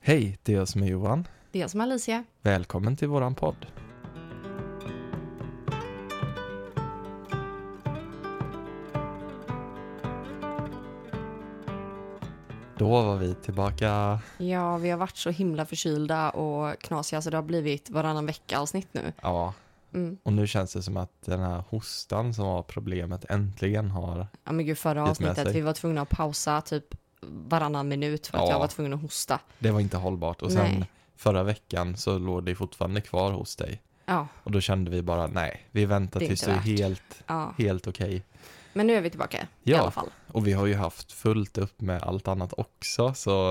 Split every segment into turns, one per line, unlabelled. Hej, det är jag som är Johan.
Det är jag som är Alicia.
Välkommen till våran podd. Då var vi tillbaka.
Ja, vi har varit så himla förkylda och knasiga så det har blivit varannan vecka avsnitt nu.
Ja,
Mm.
och nu känns det som att den här hostan som var problemet äntligen har...
Ja, men gud, förra
Gett med
avsnittet
sig.
vi var tvungna att pausa typ varannan minut för att
Ja.
jag var tvungen att hosta.
Det var inte hållbart. Och sen
Nej.
förra veckan så låg det fortfarande kvar hos dig.
Ja,
Och då kände vi bara, nej, vi väntar
Det är
tills
inte
det är
värt.
helt,
ja.
helt okej.
Men nu är vi tillbaka i
Ja.
alla fall.
Och vi har ju haft fullt upp med allt annat också, så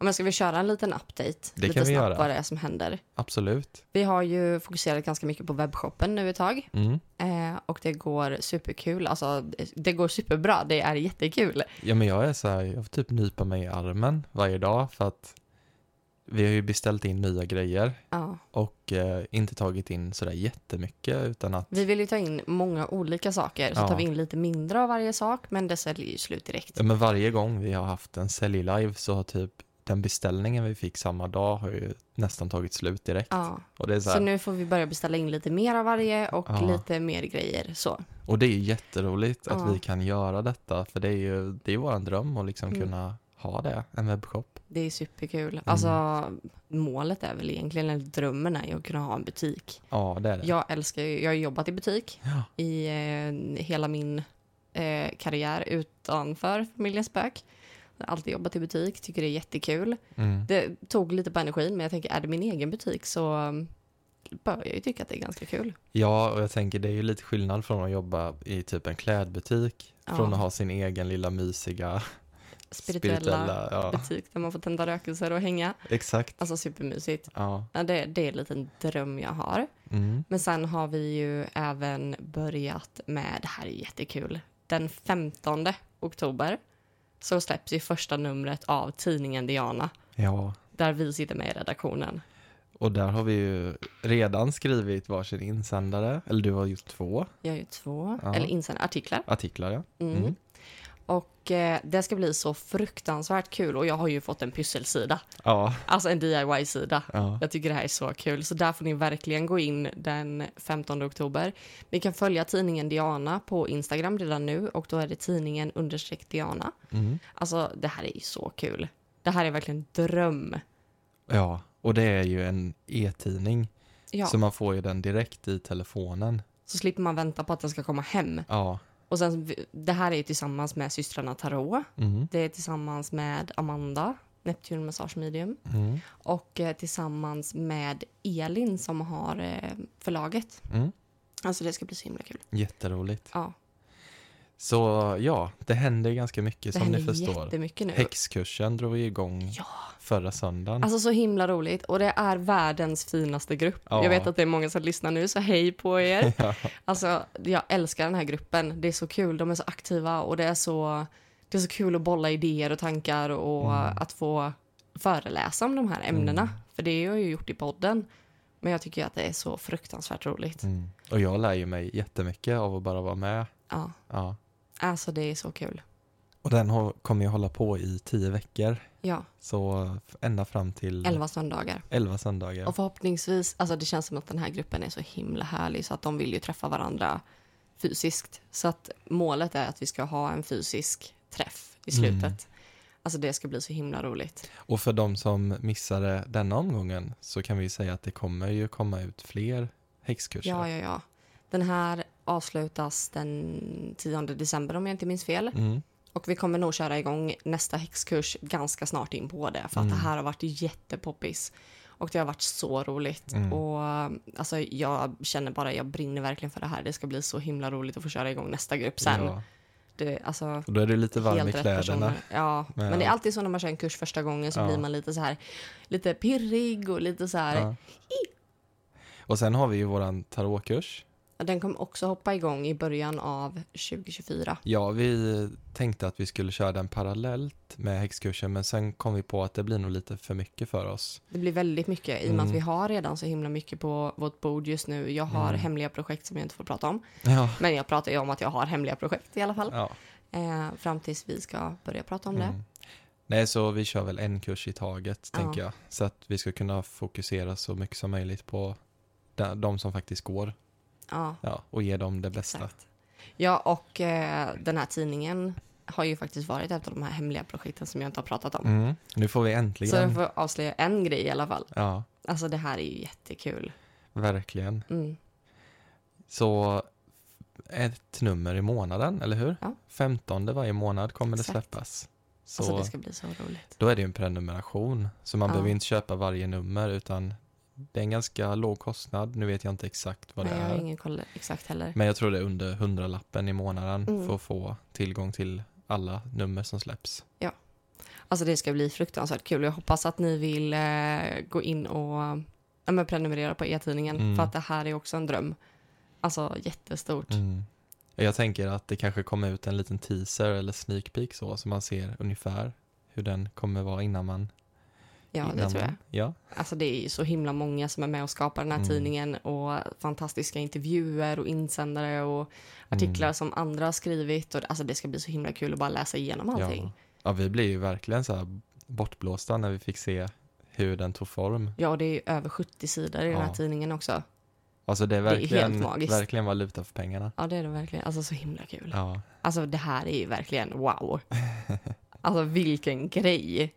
Om jag ska vi köra en liten update?
Det
lite
kan vi
snabbt
göra.
vad det är som händer.
absolut.
Vi har ju fokuserat ganska mycket på webbshoppen nu ett tag
Mm.
eh, och det går superkul. Alltså, det- det går superbra. Det är jättekul.
Ja, men jag är så här, jag får typ nypa mig i armen varje dag för att vi har ju beställt in nya grejer
Ja.
och eh, inte tagit in sådär jättemycket utan att,
Vi vill ju ta in många olika saker, så
Ja.
tar vi in lite mindre av varje sak, men det säljer ju slut direkt.
ja, men varje gång vi har haft en sälj-live så har typ den beställningen vi fick samma dag har ju nästan tagit slut direkt.
Ja.
Och det är så
Så
här,
nu får vi börja beställa in lite mer av varje och
Ja.
lite mer grejer. Så.
Och det är ju jätteroligt att
Ja.
vi kan göra detta för det är ju, det är ju våran dröm att liksom
Mm.
kunna ha det, en webbshop.
Det är
Mm.
superkul. Alltså, målet är väl egentligen, eller drömmen är ju att kunna ha en butik.
Ja, det är det.
Jag älskar ju, jag har jobbat i butik
Ja.
i eh, hela min eh, karriär utanför familjens bök. Jag har alltid jobbat i butik, tycker det är jättekul.
Mm.
Det tog lite på energin, men jag tänker är det min egen butik så um, bör jag ju tycka att det är ganska kul.
Ja, och jag tänker det är ju lite skillnad från att jobba i typ en klädbutik,
Ja.
från att ha sin egen lilla mysiga
Spirituella,
ja,
butik där man får tända rökelser och hänga.
exakt.
Alltså supermysigt.
Ja,
Ja, det, det är en liten dröm jag har.
mm.
Men sen har vi ju även börjat med, det här är jättekul, den 15 oktober så släpps ju första numret av tidningen Diana
ja.
där vi sitter med i redaktionen.
Och där har vi ju redan skrivit varsin insändare, eller du har gjort två
Jag har ju två,
Ja.
eller insända artiklar.
artiklar. Ja.
Mm.
Mm.
Och eh, det ska bli så fruktansvärt kul och jag har ju fått en pysselsida,
Ja,
alltså en DIY-sida.
ja.
Jag tycker det här är så kul, så där får ni verkligen gå in den 15 oktober. Ni kan följa tidningen Diana på Instagram redan nu och då är det tidningen understreck Diana.
Mm.
Alltså det här är ju så kul. Det här är verkligen dröm.
ja. Och det är ju en e-tidning,
Ja,
så man får ju den direkt i telefonen.
så slipper man vänta på att den ska komma hem.
Ja,
Och sen, det här är ju tillsammans med systrarna Tarot.
mm.
Det är tillsammans med Amanda, Neptune Massage Medium.
Mm.
och eh, tillsammans med Elin som har eh, förlaget.
Mm.
Alltså det ska bli så himla kul.
jätteroligt.
Ja,
Så ja, det händer ganska mycket
det
som ni
händer
förstår.
jättemycket nu.
Häxkursen drog vi igång
Ja.
förra söndagen.
Alltså så himla roligt och det är världens finaste grupp.
Ja.
Jag vet att det är många som lyssnar nu så hej på er. Alltså jag älskar den här gruppen. Det är så kul, de är så aktiva och det är så, det är så kul att bolla idéer och tankar och
Mm.
att få föreläsa om de här ämnena. För det har jag ju gjort i podden. Men jag tycker ju att det är så fruktansvärt roligt.
Mm. Och jag lär ju mig jättemycket av att bara vara med.
Ja,
Ja.
alltså det är så kul.
Och den har, kommer ju hålla på i tio veckor.
Ja.
Så ända fram till elva,
11 söndagar.
söndagar.
Och förhoppningsvis, alltså det känns som att den här gruppen är så himla härlig så att de vill ju träffa varandra fysiskt. Så att målet är att vi ska ha en fysisk träff i slutet. Alltså det ska bli så himla roligt.
Och för de som missade denna omgången så kan vi ju säga att det kommer ju komma ut fler häxkurser.
Ja, ja, ja. Den här avslutas den 10 december om jag inte minns fel.
Mm.
Och vi kommer nog köra igång nästa häxkurs ganska snart in på det. För att
Mm.
det här har varit jättepoppis. Och det har varit så roligt.
Mm.
Och alltså, jag känner bara, jag brinner verkligen för det här. Det ska bli så himla roligt att få köra igång nästa grupp sen.
Ja.
Det, alltså,
Och då är du lite varm i
helt rätt
kläderna.
personer. Ja,
Men-
men, det är alltid så när man kör en kurs första gången så
Ja.
blir man lite så här, lite pirrig och lite så här.
Ja. Och sen har vi ju våran tarotkurs.
Den kommer också hoppa igång i början av 2024.
Ja, vi tänkte att vi skulle köra den parallellt med häxkursen men sen kom vi på att det blir nog lite för mycket för oss.
Det blir väldigt mycket i och med
Mm.
att vi har redan så himla mycket på vårt bord just nu. Jag har
Mm.
hemliga projekt som jag inte får prata om.
Ja.
Men jag pratar ju om att jag har hemliga projekt i alla fall.
ja.
Eh, fram tills vi ska börja prata om det.
Mm. Nej, så vi kör väl en kurs i taget,
Ja.
tänker jag. Så att vi ska kunna fokusera så mycket som möjligt på de, de som faktiskt går
Ja,
ja, och ge dem det bästa.
exakt. Ja, och eh, den här tidningen har ju faktiskt varit ett av de här hemliga projekten som jag inte har pratat om.
Mm. Nu får vi
Så jag
äntligen.
får avslöja en grej i alla fall.
Ja,
Alltså det här är ju jättekul.
verkligen.
Mm.
Så ett nummer i månaden, eller hur?
Ja.
15 varje månad kommer det
Exakt.
släppas. Så
Alltså det ska bli så roligt.
då är det ju en prenumeration. Så man
Ja.
behöver inte köpa varje nummer utan det är en ganska låg kostnad. Nu vet jag inte exakt vad
Nej,
det
jag
är.
har ingen koll exakt heller.
Men jag tror det är under hundralappen i månaden
Mm.
för att få tillgång till alla nummer som släpps.
Alltså det ska bli fruktansvärt kul. Jag hoppas att ni vill eh, gå in och ja, men prenumerera på e-tidningen
Mm.
för att det här är också en dröm. Alltså jättestort.
Mm. Jag tänker att det kanske kommer ut en liten teaser eller sneak peek så, så man ser ungefär hur den kommer vara innan man...
Ja, det
innan
tror jag.
Man, ja,
Alltså det är ju så himla många som är med och skapar den här
Mm.
tidningen och fantastiska intervjuer och insändare
Mm.
och artiklar som andra har skrivit. Och, alltså det ska bli så himla kul att bara läsa igenom allting.
ja. ja, vi blev ju verkligen så här bortblåsta när vi fick se hur den tog form.
Ja, och det är ju över 70 sidor i den här
Ja.
tidningen också.
Alltså det är
Det är
verkligen,
helt magiskt.
verkligen valuta för pengarna.
Ja, det är det verkligen. Alltså så himla kul.
Ja,
Alltså det här är ju verkligen wow. Alltså vilken grej.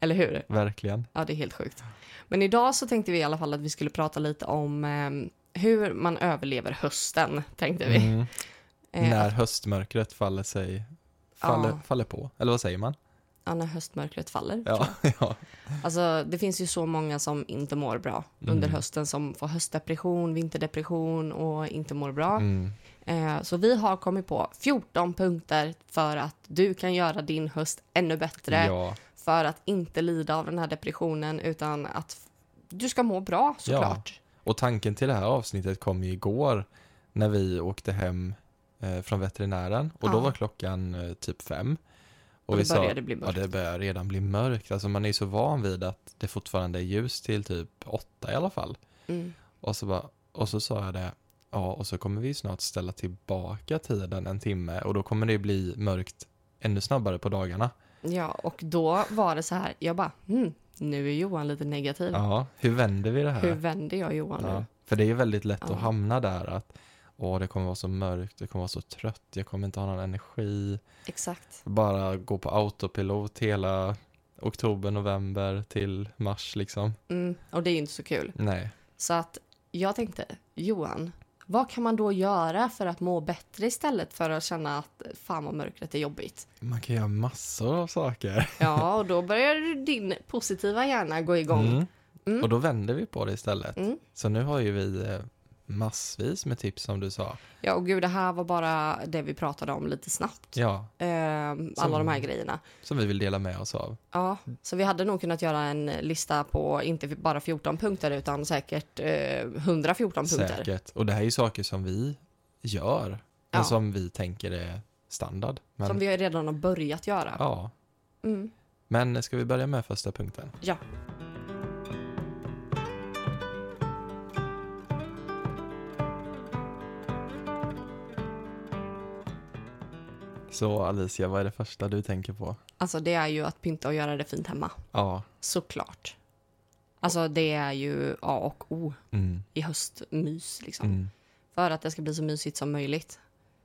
Eller hur?
verkligen.
Ja, det är helt sjukt. Men idag så tänkte vi i alla fall att vi skulle prata lite om eh, hur man överlever hösten, tänkte vi.
Mm.
Eh,
När höstmörkret faller sig, faller,
Ja.
faller på. Eller vad säger man?
Ja, när höstmörkret faller.
Ja, ja.
Alltså, det finns ju så många som inte mår bra
Mm.
under hösten som får höstdepression, vinterdepression och inte mår bra.
Mm.
Eh, så vi har kommit på 14 punkter för att du kan göra din höst ännu bättre
ja.
för att inte lida av den här depressionen utan att f- du ska må bra såklart.
Och tanken till det här avsnittet kom ju igår när vi åkte hem eh, från veterinären och då
Ja.
var klockan eh, typ fem. Och,
Och
vi
det började
sa,
bli
ja
mörkt.
det börjar redan bli mörkt. Alltså man är ju så van vid att det fortfarande är ljus till typ åtta i alla fall.
Mm.
Och så, bara, och så sa jag det, ja och så kommer vi snart ställa tillbaka tiden en timme och då kommer det bli mörkt ännu snabbare på dagarna.
Ja, och då var det så här, jag bara, hmm, nu är Johan lite negativ.
Ja, hur vänder vi det här?
Mm. Hur vänder jag Johan
Ja,
nu?
för det är ju väldigt lätt
Ja.
att hamna där att åh, det kommer vara så mörkt, det kommer vara så trött, jag kommer inte ha någon energi.
Exakt.
Bara gå på autopilot hela oktober, november till mars liksom.
Mm, och det är ju inte så kul.
Nej,
Så att jag tänkte, Johan, vad kan man då göra för att må bättre istället för att känna att fan vad mörkret är jobbigt?
man kan göra massor av saker.
Ja, och då börjar din positiva hjärna gå igång.
Mm.
Mm.
Och då vänder vi på det istället.
Mm.
Så nu har ju vi eh, massvis med tips som du sa.
Ja, och gud, det här var bara det vi pratade om lite snabbt.
Ja,
Ehm,
Som-
alla de här grejerna.
som vi vill dela med oss av.
Ja, så vi hade nog kunnat göra en lista på inte bara 14 punkter utan säkert eh, 114 punkter.
Säkert. Och det här är ju saker som vi gör,
Ja.
men som vi tänker är standard. Men,
Som vi redan har börjat göra.
ja.
Mm.
Men ska vi börja med första punkten?
Ja.
Så Alicia, vad är det första du tänker på?
Alltså det är ju att pynta och göra det fint hemma.
Ja.
Såklart. Alltså det är ju A och O
Mm.
i höstmys liksom.
Mm.
För att det ska bli så mysigt som möjligt.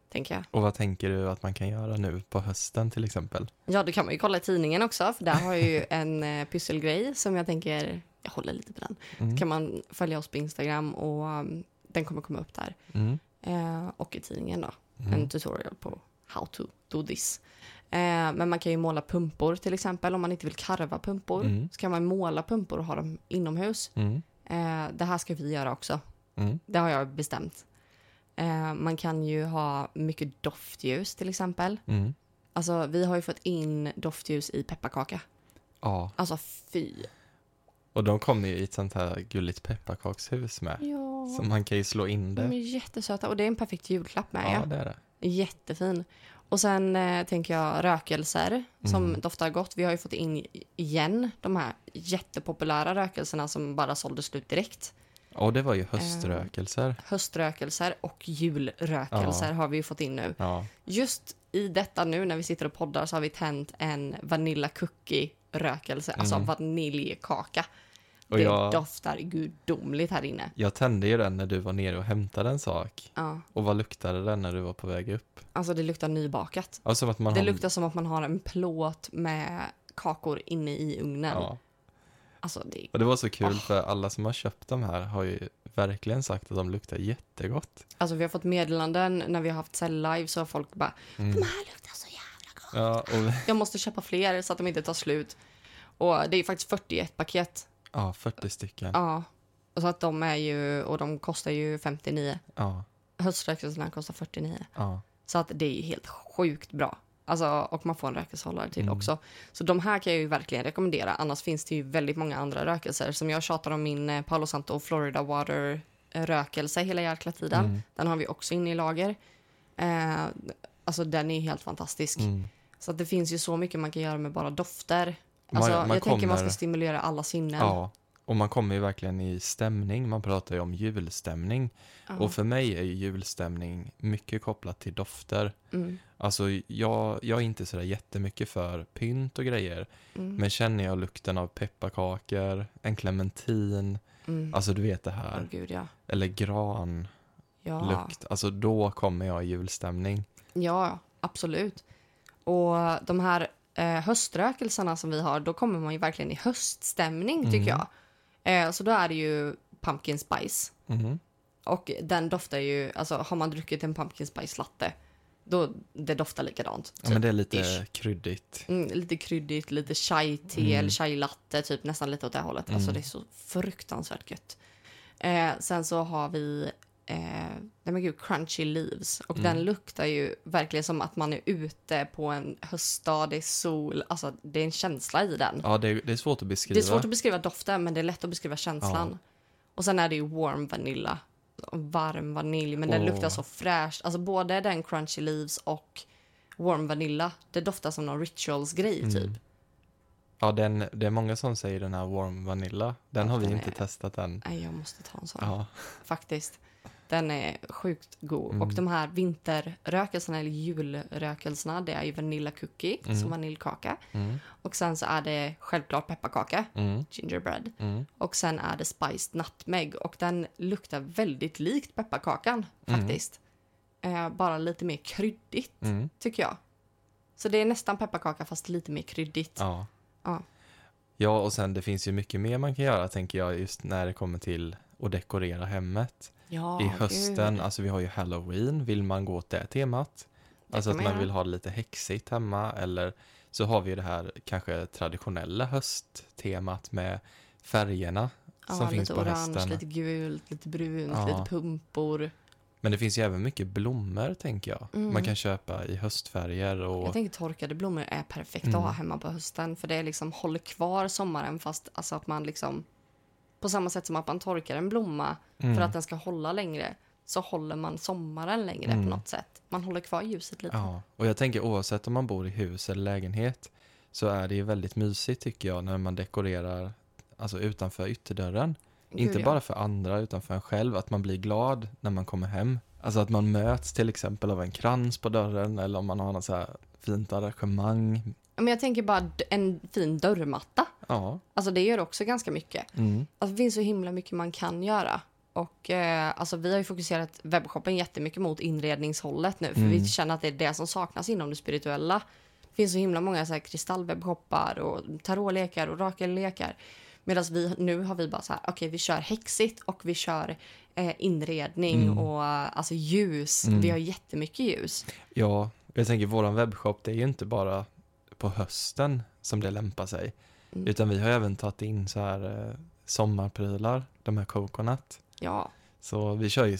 Tänker jag.
Och vad tänker du att man kan göra nu på hösten till exempel?
Ja, det kan man ju kolla i tidningen också. För där har jag ju en eh, pysselgrej som jag tänker, jag håller lite på den.
Mm.
kan man följa oss på Instagram och um, den kommer komma upp där.
Mm.
Eh, och i tidningen då.
Mm.
En tutorial på how to do this. Eh, men man kan ju måla pumpor till exempel. Om man inte vill karva pumpor
Mm.
så kan man måla pumpor och ha dem inomhus.
Mm.
Eh, det här ska vi göra också.
Mm.
Det har jag bestämt. Eh, man kan ju ha mycket doftljus till exempel.
Mm.
Alltså vi har ju fått in doftljus i pepparkaka.
Ja,
Alltså fy.
och de kommer ju i ett sånt här gulligt pepparkakshus med.
Ja.
Så man kan ju slå in
De
det.
är jättesöta och det är en perfekt julklapp med.
Ja,
Ja.
det är det.
Jättefin. Och sen eh, tänker jag rökelser som
Mm.
doftar gott. Vi har ju fått in igen de här jättepopulära rökelserna som bara sålde slut direkt.
Ja, det var ju höströkelser.
Höströkelser och julrökelser har vi ju fått in nu.
Ja,
Just i detta nu när vi sitter och poddar så har vi tänt en vanilla cookie rökelse, alltså
Mm.
vaniljkaka.
Och
det
jag-
doftar gudomligt här inne.
jag tände ju den när du var nere och hämtade en sak.
Ja,
Och vad luktade den när du var på väg upp?
alltså det luktar nybakat.
Ja, som att man
Det
har...
luktar som att man har en plåt med kakor inne i ugnen.
Ja.
Alltså det
Och det var så kul för alla som har köpt de här har ju verkligen sagt att de luktar jättegott.
Alltså vi har fått meddelanden när vi har haft live så har folk bara
Mm.
"Det här luktar så jävla gott.
Ja, och,
Jag måste köpa fler så att de inte tar slut. Och det är faktiskt 41 paket.
ja 40 stycken.
Ja. Och så att de är ju, och de kostar ju 59.
Ja,
Höströkelserna kostar 49.
ja.
Så att det är ju helt sjukt bra. Alltså, och man får en rökelsehållare till
Mm.
också. Så de här kan jag ju verkligen rekommendera. Annars finns det ju väldigt många andra rökelser. Som jag tjatar om min eh, Palo Santo Florida Water eh, rökelse hela jäkla tiden.
Mm.
Den har vi också inne i lager. Eh, alltså den är helt fantastisk.
Mm.
Så att det finns ju så mycket man kan göra med bara dofter.
Man-
Alltså,
man
jag tänker man ska
kommer-
stimulera alla sinnen.
Ja, och man kommer ju verkligen i stämning. Man pratar ju om julstämning. Och för mig är ju julstämning mycket kopplat till dofter.
Mm,
Alltså jag, jag är inte sådär jättemycket för pynt och grejer.
mm,
Men känner jag lukten av pepparkakor, en clementin,
mm. Ah.
alltså du vet det
Åh,
här.
gud ja.
Eller gran,
Ja.
lukt. Alltså då kommer jag i julstämning.
Ja, absolut. Och de här eh, höströkelserna som vi har, då kommer man ju verkligen i höststämning tycker
Mm.
jag. Eh, så då är det ju pumpkin spice.
Mhm.
Och den doftar ju, alltså har man druckit en pumpkin spice latte, då det doftar likadant.
Ja,
typ.
men det är lite
ish.
kryddigt.
Mm, lite kryddigt, lite chai-te
Mm.
eller chai-latte, typ nästan lite åt det hållet. Alltså
Mm.
det är så fruktansvärt gött. Eh, sen så har vi, eh, nej men gud, crunchy leaves. Och
Mm.
den luktar ju verkligen som att man är ute på en höstdag, det är sol, alltså det är en känsla i den.
Ja, det är, det är svårt att beskriva.
det är svårt att beskriva doften men det är lätt att beskriva känslan. Och sen är det ju warm vanilla, varm vanilj, men den
Åh.
luktar så fräscht. Alltså både den crunchy leaves och warm vanilla, det doftar som någon rituals-grej typ.
Mm. Ja, den, det är många som säger den här warm vanilla. Den
Ja,
har vi
den
inte
är-
testat än.
Nej, jag måste ta en sån.
Ja.
Faktiskt. Den är sjukt god.
Mm.
Och de här vinterrökelserna, eller julrökelserna, det är ju vanilla cookie, alltså vaniljkaka.
Mm.
Och sen så är det självklart pepparkaka,
Mm.
gingerbread.
Mm.
Och sen är det spiced nutmeg och den luktar väldigt likt pepparkakan faktiskt. Eh, bara lite mer kryddigt,
Mm.
tycker jag. Så det är nästan pepparkaka fast lite mer kryddigt.
Ja.
Ja.
Ja, och sen det finns ju mycket mer man kan göra tänker jag just när det kommer till att dekorera hemmet.
Ja,
I
gud.
hösten, alltså vi har ju halloween, vill man gå åt det temat?
Det
alltså
kan
att
man
man
göra.
vill ha det lite häxigt hemma eller så har vi ju det här kanske traditionella hösttemat med färgerna
Ja,
som finns
lite
på
orange,
hösten.
lite gult, lite brunt,
Ja.
lite pumpor.
Men det finns ju även mycket blommor tänker jag. Man kan köpa i höstfärger
Mm. Jag
och
tänker torkade blommor är perfekt
Mm.
att ha hemma på hösten för det är liksom håller kvar sommaren fast alltså att man liksom på samma sätt som att man torkar en blomma
mm,
för att den ska hålla längre så håller man sommaren längre på något sätt. Man håller kvar ljuset lite.
Mm. Ja, och jag tänker oavsett om man bor i hus eller lägenhet så är det ju väldigt mysigt tycker jag när man dekorerar alltså utanför ytterdörren.
Gud,
Inte
ja.
bara för andra utan för en själv, att man blir glad när man kommer hem. Alltså att man möts till exempel av en krans på dörren eller om man har något så här fint arrangemang.
Men jag tänker bara d- en fin dörrmatta.
Ja,
Alltså det gör också ganska mycket.
mm,
Alltså, det finns så himla mycket man kan göra. Och eh, alltså, vi har ju fokuserat webbshoppen jättemycket mot inredningshållet nu. För vi känner att det är det som saknas inom det spirituella. Det finns så himla många så här, kristallwebbshoppar och tarotlekar och rakellekar. Medan vi nu har vi bara så här, okej vi kör häxigt och vi kör eh, inredning och eh, alltså ljus. Vi har jättemycket ljus.
ja, jag tänker våran webbshop det är ju inte bara på hösten som det lämpar sig.
Mm.
Utan vi har även tagit in så här eh, sommarprylar, de här coconut.
Ja,
Så vi kör ju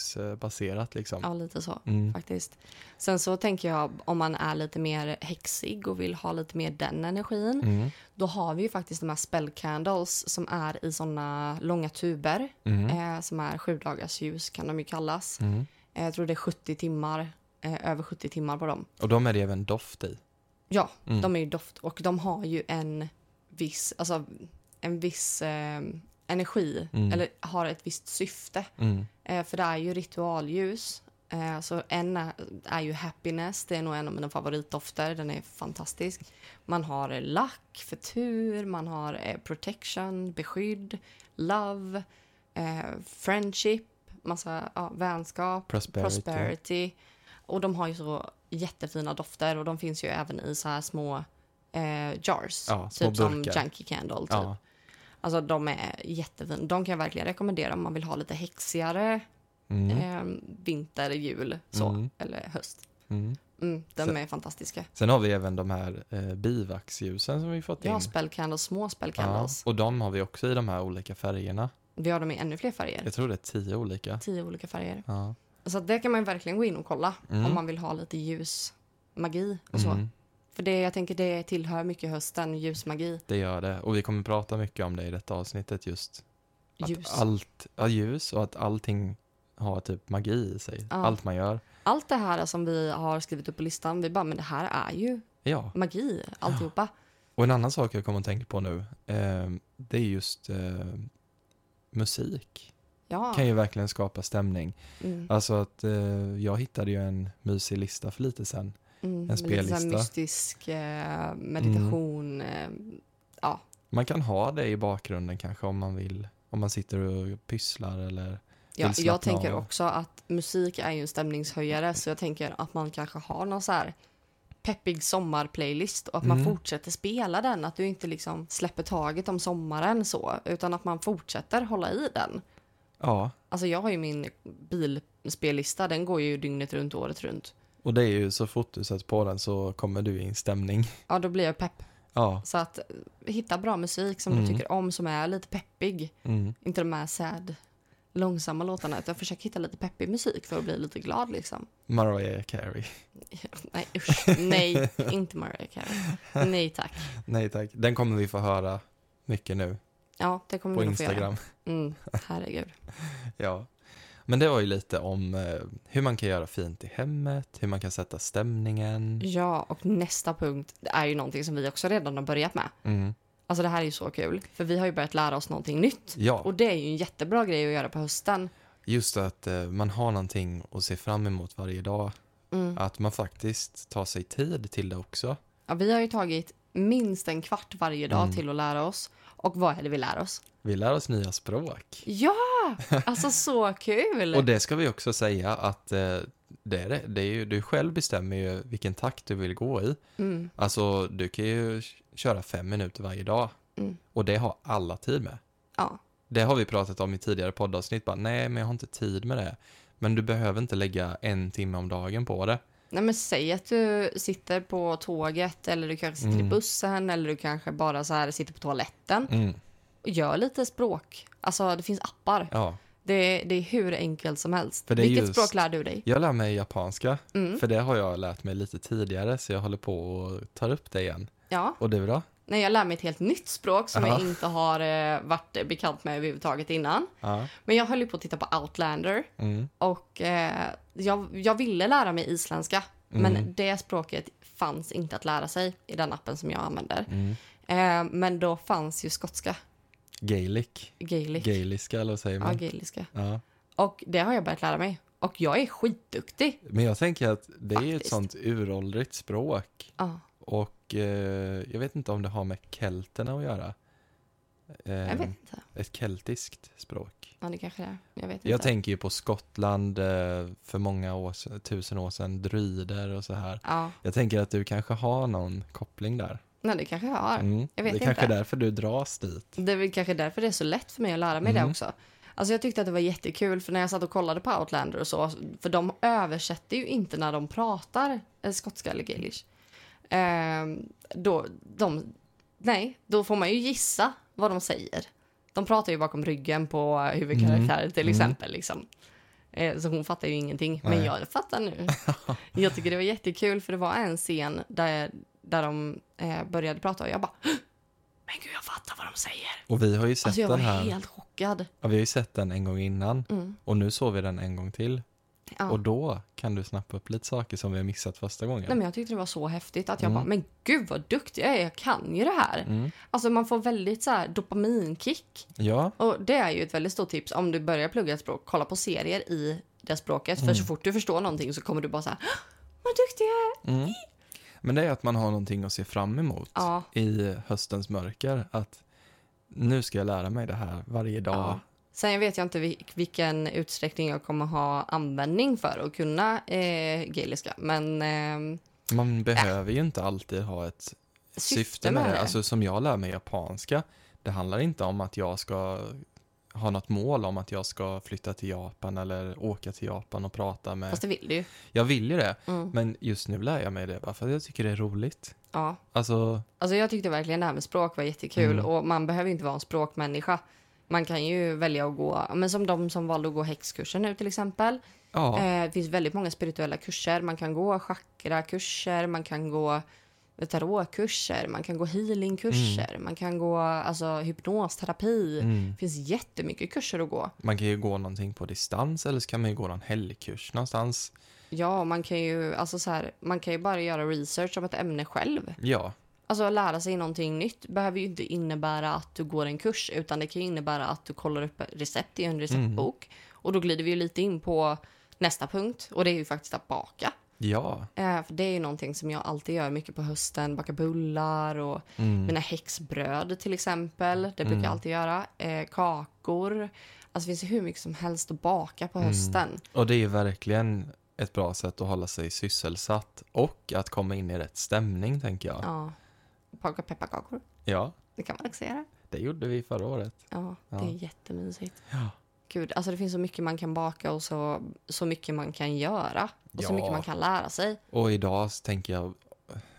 säsongsbaserat liksom.
ja lite så.
Mm.
faktiskt. Sen så tänker jag om man är lite mer häxig och vill ha lite mer den energin.
Mm.
Då har vi ju faktiskt de här spell candles som är i såna långa tuber.
Mm.
Eh, som är sju dagars ljus kan de ju kallas.
Mm.
Eh, jag tror det är 70 timmar, eh, över 70 timmar på dem.
Och de är det även doft i.
Ja,
Mm.
de är ju doft och de har ju en viss, alltså en viss eh, energi
Mm.
eller har ett visst syfte.
Mm.
Eh, för det är ju ritualljus. Eh, så en är, är ju happiness, det är nog en av mina favoritdofter, den är fantastisk. Man har eh, lack för tur, man har eh, protection, beskydd, love, eh, friendship, massa ja, vänskap,
Prosperity.
prosperity. Och de har ju så jättefina dofter och de finns ju även i så här små eh, jars,
Ja, små
typ som
burkar.
junkie candle. Typ.
Ja.
Alltså de är jättefina. De kan jag verkligen rekommendera om man vill ha lite häxigare
Mm.
eh, vinter, jul, så.
Mm.
Eller höst.
Mm.
Mm, de
Så-
är fantastiska.
Sen har vi även de här eh, bivaxljusen som vi fått
Vi har
in.
spellcandles, små
Ja,
spellcandles.
och de har vi också i de här olika färgerna.
Vi har dem i ännu fler färger.
Jag tror det är tio olika.
Tio olika färger.
Ja.
Så att det kan man ju verkligen gå in och kolla
Mm.
om man vill ha lite ljusmagi och så.
Mm,
För det, jag tänker det tillhör mycket hösten, ljusmagi.
det gör det. Och vi kommer prata mycket om det i detta avsnittet just. Att
Ljus.
Allt, ja, ljus och att allting har typ magi i sig.
Ja.
Allt man gör.
Allt det här som vi har skrivit upp på listan, vi bara, men det här är ju
Ja.
magi, alltihopa.
Och en annan sak jag kommer att tänka på nu. Eh, det är just eh, musik.
Ja.
Kan ju verkligen skapa stämning.
Mm,
Alltså att eh, jag hittade ju en mysig lista för lite sen.
mm. Lite så här
spellista. Mm.
mystisk eh, meditation. eh, ja,
Man kan ha det i bakgrunden kanske om man vill. Om man sitter och pysslar eller
Ja,
vill
jag
slappna
tänker
av.
också att musik är ju en stämningshöjare så jag tänker att man kanske har någon så här peppig sommarplaylist och att man
Mm.
fortsätter spela den. Att du inte liksom släpper taget om sommaren så utan att man fortsätter hålla i den.
Ja,
Alltså jag har ju min bilspellista, den går ju dygnet runt året runt.
och det är ju så fort du sätter på den så kommer du i en stämning.
Ja, då blir jag pepp.
Ja,
Så att eh, hitta bra musik som
Mm.
du tycker om som är lite peppig.
mm,
Inte de här sad, långsamma låtarna utan försök hitta lite peppig musik för att bli lite glad liksom.
Mariah Carey.
Nej usch, nej, inte Mariah Carey. Nej tack.
Nej tack, den kommer vi få höra mycket nu
Ja, Mm, det kommer
på
vi nog få göra.
Instagram.
Mm, herregud.
Ja. Men det var ju lite om eh, hur man kan göra fint i hemmet, hur man kan sätta stämningen.
Ja, och nästa punkt är ju någonting som vi också redan har börjat med.
Mm.
Alltså det här är ju så kul, för vi har ju börjat lära oss någonting nytt.
Ja,
Och det är ju en jättebra grej att göra på hösten.
just att eh, man har någonting att se fram emot varje dag.
Mm.
Att man faktiskt tar sig tid till det också.
Ja, vi har ju tagit minst en kvart varje dag
Mm.
till att lära oss. Och vad är det vi lär oss?
Vi lär oss nya språk.
Ja, alltså så kul!
Och det ska vi också säga att eh, det är det. det är ju, du själv bestämmer ju vilken takt du vill gå i.
Mm.
Alltså du kan ju köra fem minuter varje dag
Mm.
och det har alla tid med.
Ja,
Det har vi pratat om i tidigare poddavsnitt, bara nej men jag har inte tid med det. Men du behöver inte lägga en timme om dagen på det.
Nej, men säg att du sitter på tåget eller du kanske sitter
Mm.
i bussen eller du kanske bara så här sitter på toaletten. Och gör lite språk. Alltså det finns appar.
Ja.
Det, det är hur enkelt som helst.
För det är
Vilket
just-
språk lär du dig?
Jag lär mig japanska,
Mm.
för det har jag lärt mig lite tidigare så jag håller på och tar upp det igen.
Ja,
Och du då?
nej, jag lär mig ett helt nytt språk som jag
Aha.
inte har eh, varit bekant med överhuvudtaget innan.
Ja.
Men jag höll ju på att titta på Outlander
Mm.
och eh, jag, jag ville lära mig isländska.
Mm.
Men det språket fanns inte att lära sig i den appen som jag använder.
Mm.
Eh, men då fanns ju skotska,
Gaelic.
gaelic.
Gaeliska eller vad säger
Ja,
man?
gaeliska.
Ja.
Och det har jag börjat lära mig. Och jag är skitduktig.
Men jag tänker att det är ju ett
Faktiskt.
sånt uråldrigt språk.
Ja,
Och eh, jag vet inte om det har med kelterna att göra. Eh,
jag vet inte.
Ett keltiskt språk.
Ja, det kanske det är. Jag vet inte.
Jag tänker ju på Skottland eh, för många år, se- tusen år sedan, druider och så här.
Ja,
Jag tänker att du kanske har någon koppling där.
nej, det kanske jag har.
Mm.
jag vet
det är kanske är
inte.
därför du dras dit.
Det är väl kanske därför det är så lätt för mig att lära mig det också. Alltså jag tyckte att det var jättekul för när jag satt och kollade på Outlander och så, för de översätter ju inte när de pratar eh, skotska eller gaelish. Ehm, då, de, nej, då får man ju gissa vad de säger. De pratar ju bakom ryggen på huvudkaraktären till
Mm.
exempel. Liksom. Eh, så hon fattar ju ingenting, men
Nej.
jag fattar nu. jag tycker det var jättekul för det var en scen där, där de eh, började prata och jag bara men gud jag fattar vad de säger.
Och vi har ju sett
Alltså jag var
den här.
helt chockad.
Ja, vi har ju sett den en gång innan
Mm.
och nu såg vi den en gång till.
Ja.
Och då kan du snappa upp lite saker som vi har missat första gången.
Nej, men jag tyckte det var så häftigt att jag
Mm.
bara, men gud vad duktig jag är, jag kan ju det här.
Mm.
Alltså man får väldigt så här dopaminkick.
Ja,
Och det är ju ett väldigt stort tips om du börjar plugga ett språk, kolla på serier i det språket.
Mm.
För så fort du förstår någonting så kommer du bara så här, "Hå! vad duktig jag är.
mm. men det är att man har någonting att se fram emot
Ja,
i höstens mörker. Att nu ska jag lära mig det här varje dag.
Ja. Sen vet jag inte vil- vilken utsträckning jag kommer ha användning för att kunna eh, gaeliska. Men ehm,
Man behöver ju inte alltid ha ett syfte, med, det. Alltså som jag lär mig japanska, det handlar inte om att jag ska ha något mål om att jag ska flytta till Japan eller åka till Japan och prata med...
Fast det vill du ju.
Jag vill ju det,
Mm.
men just nu lär jag mig det bara för att jag tycker det är roligt.
Ja.
Alltså,
Alltså jag tyckte verkligen det här med språk var jättekul
Mm.
och man behöver inte vara en språkmänniska. Man kan ju välja att gå, men som de som valde att gå häxkursen nu till exempel.
ja.
Eh, det finns väldigt många spirituella kurser. Man kan gå chakrakurser, man kan gå tarotkurser, man kan gå healingkurser, man kan gå alltså, hypnosterapi.
Mm.
Det finns jättemycket kurser att gå.
Man kan ju gå någonting på distans eller så kan man ju gå någon helgkurs någonstans.
Ja, man kan ju, alltså så här, man kan ju bara göra research om ett ämne själv.
Ja,
Alltså att lära sig någonting nytt behöver ju inte innebära att du går en kurs utan det kan ju innebära att du kollar upp recept i en receptbok. Och då glider vi ju lite in på nästa punkt och det är ju faktiskt att baka.
ja.
Eh, för det är ju någonting som jag alltid gör mycket på hösten, baka bullar och
Mm.
mina häxbröd till exempel. Det brukar jag alltid göra. Eh, kakor. Alltså det finns ju hur mycket som helst att baka på hösten.
Och det är ju verkligen ett bra sätt att hålla sig sysselsatt och att komma in i rätt stämning tänker jag.
Ja. Baka pepparkakor.
ja.
Det kan man också göra.
Det gjorde vi förra året.
Ja, det
Ja.
är jättemysigt.
Ja.
Gud, alltså det finns så mycket man kan baka och så, så mycket man kan göra. Och
Ja.
så mycket man kan lära sig.
Och idag så tänker jag,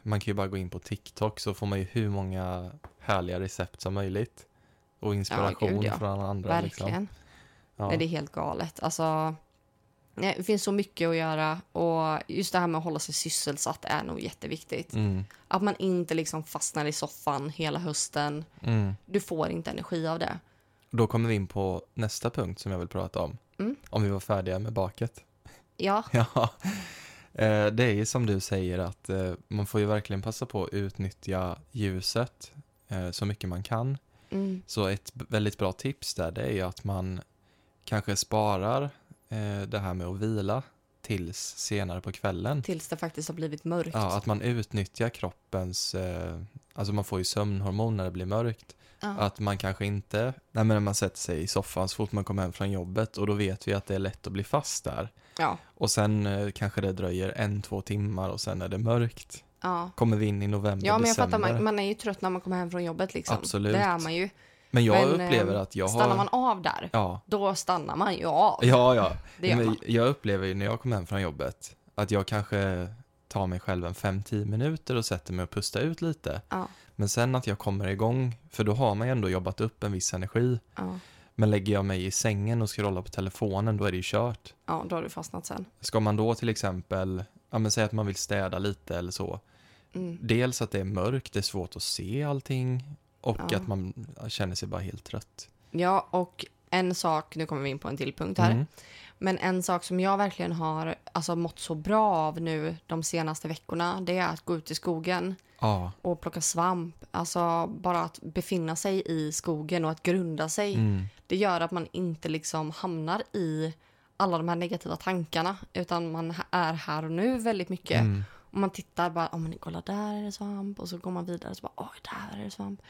man kan ju bara gå in på TikTok så får man ju hur många härliga recept som möjligt. Och inspiration
gud, ja.
från andra. Liksom.
Verkligen.
Ja.
Nej, det är helt galet. Alltså, nej, det finns så mycket att göra. Och just det här med att hålla sig sysselsatt är nog jätteviktigt.
Mm,
Att man inte liksom fastnar i soffan hela hösten.
mm.
Du får inte energi av det.
Då kommer vi in på nästa punkt som jag vill prata om.
Mm.
Om vi var färdiga med baket.
Ja,
Ja. Eh, Det är ju som du säger att eh, man får ju verkligen passa på att utnyttja ljuset eh, så mycket man kan.
mm,
Så ett b- väldigt bra tips där det är ju att man kanske sparar eh, det här med att vila tills senare på kvällen.
tills det faktiskt har blivit mörkt.
Ja, att man utnyttjar kroppens, eh, alltså man får ju sömnhormon när det blir mörkt.
Ja.
Att man kanske inte, nej men när man sätter sig i soffan så fort man kommer hem från jobbet och då vet vi att det är lätt att bli fast där.
ja,
Och sen eh, kanske det dröjer en, två timmar och sen är det mörkt.
ja.
Kommer vi in i november,
ja men jag
december.
fattar. Man, man är ju trött när man kommer hem från jobbet. Liksom.
Absolut.
Det är man ju.
men jag
men, eh,
upplever att jag har...
Stannar man av där,
Ja,
då stannar man ju av.
ja, ja.
Det gör
men
man.
jag upplever ju när jag kommer hem från jobbet att jag kanske tar mig själv en 5-10 minuter och sätter mig och pustar ut lite.
Ja,
Men sen att jag kommer igång, för då har man ju ändå jobbat upp en viss energi.
ja,
Men lägger jag mig i sängen och scrollar på telefonen, då är det ju kört.
ja, då har du fastnat sen.
Ska man då till exempel, ja men säg att man vill städa lite eller så.
Mm.
Dels att det är mörkt, det är svårt att se allting. Och
Ja.
att man känner sig bara helt trött.
Ja, och en sak, nu kommer vi in på en till punkt här.
Mm.
Men en sak som jag verkligen har alltså, mått så bra av nu de senaste veckorna, det är att gå ut i skogen
Ja,
och plocka svamp. Alltså bara att befinna sig i skogen och att grunda sig.
mm.
Det gör att man inte liksom hamnar i alla de här negativa tankarna, utan man är här och nu väldigt mycket.
Mm.
Och man tittar bara, oh, men kolla där är det svamp och så går man vidare och så bara, oj där är det svamp.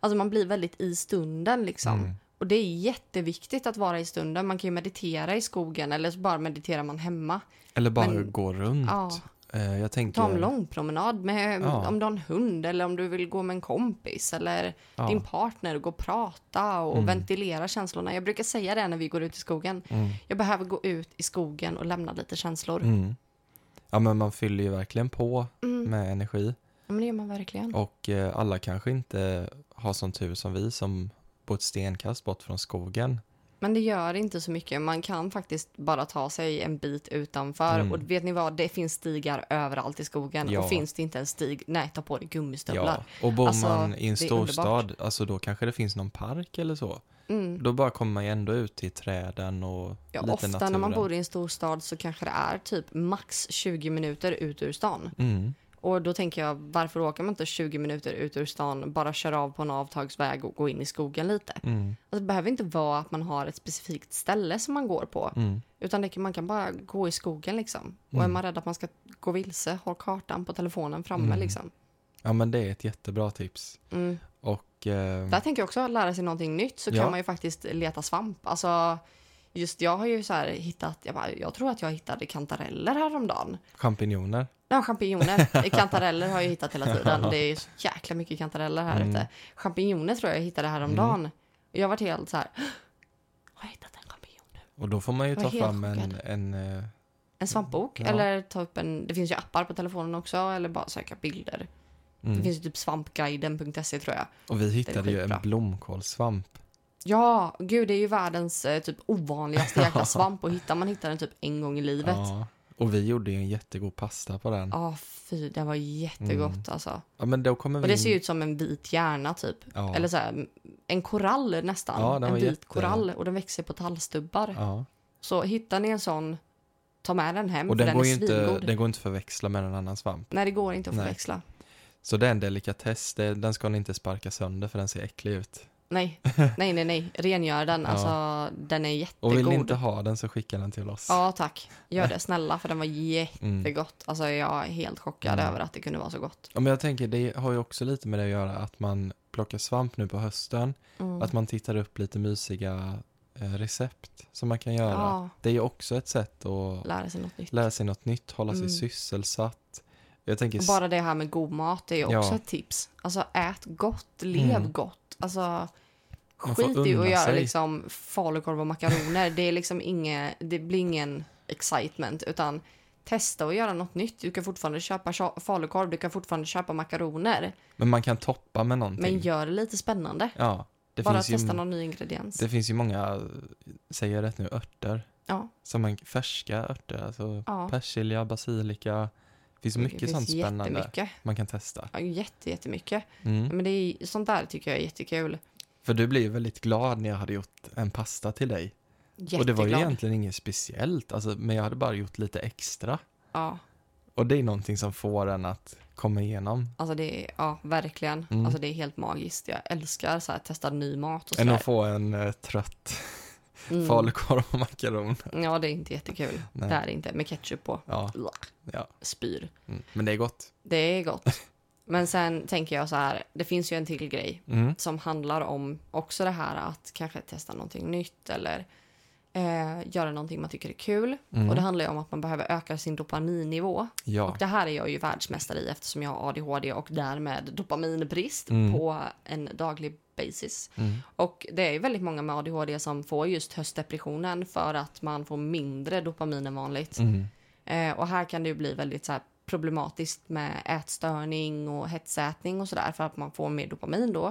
Alltså man blir väldigt i stunden liksom. Och det är jätteviktigt att vara i stunden. Man kan ju meditera i skogen eller så bara mediterar man hemma.
Eller bara
Men-
gå runt.
Ja.
Eh, Jag tänker...
Ta en lång promenad med,
Ja.
om du har en hund eller om du vill gå med en kompis eller
Ja. Mm.
din partner och gå och prata och ventilera känslorna. Jag brukar säga det när vi går ut i skogen. Jag behöver gå ut i skogen och lämna lite känslor.
Mm. Ja, men man fyller ju verkligen på
Mm.
med energi.
Ja, Men det gör man verkligen.
Och eh, alla kanske inte har sån tur som vi som bor ett stenkast bort från skogen.
Men det gör inte så mycket. Man kan faktiskt bara ta sig en bit utanför.
Mm.
Och vet ni vad? Det finns stigar överallt i skogen.
Ja.
Och finns det inte en stig, nej, ta på dig gummistövlar.
Och bor
Alltså,
man i en
det är
storstad, alltså då kanske det finns någon park eller så.
Mm.
Då bara kommer man ju ändå ut till träden och
Ja,
lite
ofta
naturen.
när man bor i en stor stad så kanske det är typ max 20 minuter ut ur stan.
Mm.
Och då tänker jag, varför åker man inte 20 minuter ut ur stan, bara kör av på en avtagsväg och går in i skogen lite?
Mm.
Alltså, det behöver inte vara att man har ett specifikt ställe som man går på,
Mm.
utan det kan, man kan bara gå i skogen liksom. Och är
Mm.
man rädd att man ska gå vilse, ha kartan på telefonen framme
Mm.
liksom.
Ja, men det är ett jättebra tips.
Mm.
Och eh,
Där tänker jag också att lära sig någonting nytt så
Ja.
kan man ju faktiskt leta svamp. Alltså, just jag har ju så här hittat, jag, bara, jag tror att jag hittade kantareller häromdagen.
champinjoner.
Nej, champinjoner. Kantareller har jag hittat hela tiden. Det är ju så jäkla mycket kantareller här
Mm.
ute. Champinjoner tror jag jag hittade häromdagen. Jag har varit helt så här, har jag hittat en champinjon nu?
Och då får man ju
Jag
ta
var helt
fram en,
chockad.
en eh,
En svampbok
Ja.
eller ta upp en, det finns ju appar på telefonen också eller bara söka bilder. Det
mm.
finns ju typ svampguiden.se tror jag.
Och vi hittade ju en
skitbra.
blomkålssvamp.
Ja, gud det är ju världens eh, typ ovanligaste jäkla svamp att hitta. Man hittar den typ en gång i livet. Ja,
Ja. Och vi gjorde ju en jättegod pasta på den. Ja,
fy, det var jättegott
Mm.
alltså.
men då kommer
Och
vi
det ser ju
in-
ut som en vit hjärna typ.
ja.
Eller så här, en korall nästan.
Ja, den
en
var
vit
jätte-
korall och den växer på tallstubbar.
ja.
Så hittar ni en sån, ta med den hem
Och
för
den,
den
går
är
ju inte,
svingod.
den går inte att förväxla med en annan svamp.
Nej, det går inte att
Nej.
förväxla.
Så det är en delikatess. Det, den ska ni inte sparka sönder för den ser äcklig ut.
Nej, nej, nej, nej. Rengör den.
Ja.
Alltså, den är jättegod.
Och vill ni inte ha den så skicka den till oss.
Ja, tack. Gör det snälla, för den var
Mm.
jättegott. Alltså, jag är helt chockad
Mm.
över att det kunde vara så gott.
Ja, men jag tänker, det har ju också lite med det att göra att man plockar svamp nu på hösten.
Mm.
Att man tittar upp lite mysiga eh, recept som man kan göra.
ja,
Det är ju också ett sätt att
lära sig något nytt.
lära sig något nytt, hålla sig
Mm.
sysselsatt. Jag tänker,
Och
s-
bara det här med god mat är ju också
Ja.
ett tips. Alltså, ät gott, lev
Mm.
gott. Alltså,
Man får
skit i
unna
att göra
sig.
liksom falukorv och makaroner. Det är liksom inget, det blir ingen excitement, utan testa och göra något nytt. Du kan fortfarande köpa tja- falukorv, du kan fortfarande köpa makaroner,
men man kan toppa med någonting.
men gör det lite spännande.
ja, det
bara
finns ju
testa någon ny ingrediens.
Det finns ju många, säger jag rätt nu, örter.
Ja.
Som man, färska örter, alltså
Ja.
persilja, basilika. Det finns mycket
det
sånt
finns
spännande
Jättemycket.
man kan testa.
Ja, jätte, jättemycket.
Mm.
Men det är, sånt där tycker jag är jättekul.
För du blev ju väldigt glad när jag hade gjort en pasta till dig.
Jätteglad.
Och det var ju egentligen inget speciellt, alltså, men jag hade bara gjort lite extra.
Ja,
Och det är någonting som får en att komma igenom.
alltså det är, ja, verkligen.
Mm.
Alltså det är helt magiskt. Jag älskar så här, testa ny mat och
Än
sådär.
att få en eh, trött
Mm.
falukorv och makaroner.
Ja, det är inte jättekul.
Nej.
Det är det inte. Med ketchup på.
Ja,
Blah,
ja.
Spyr.
Mm. Men det är gott.
Det är gott. Men sen tänker jag så här, det finns ju en till grej
Mm.
som handlar om också det här att kanske testa någonting nytt eller eh, göra någonting man tycker är kul.
Mm.
Och det handlar ju om att man behöver öka sin dopaminnivå.
Ja.
Och det här är jag ju världsmästare i eftersom jag har ADHD och därmed dopaminbrist
Mm.
på en daglig basis.
Mm.
Och det är ju väldigt många med ADHD som får just höstdepressionen för att man får mindre dopamin än vanligt.
Mm.
Eh, och här kan det ju bli väldigt så här problematiskt med ätstörning och hetsätning och sådär för att man får mer dopamin då.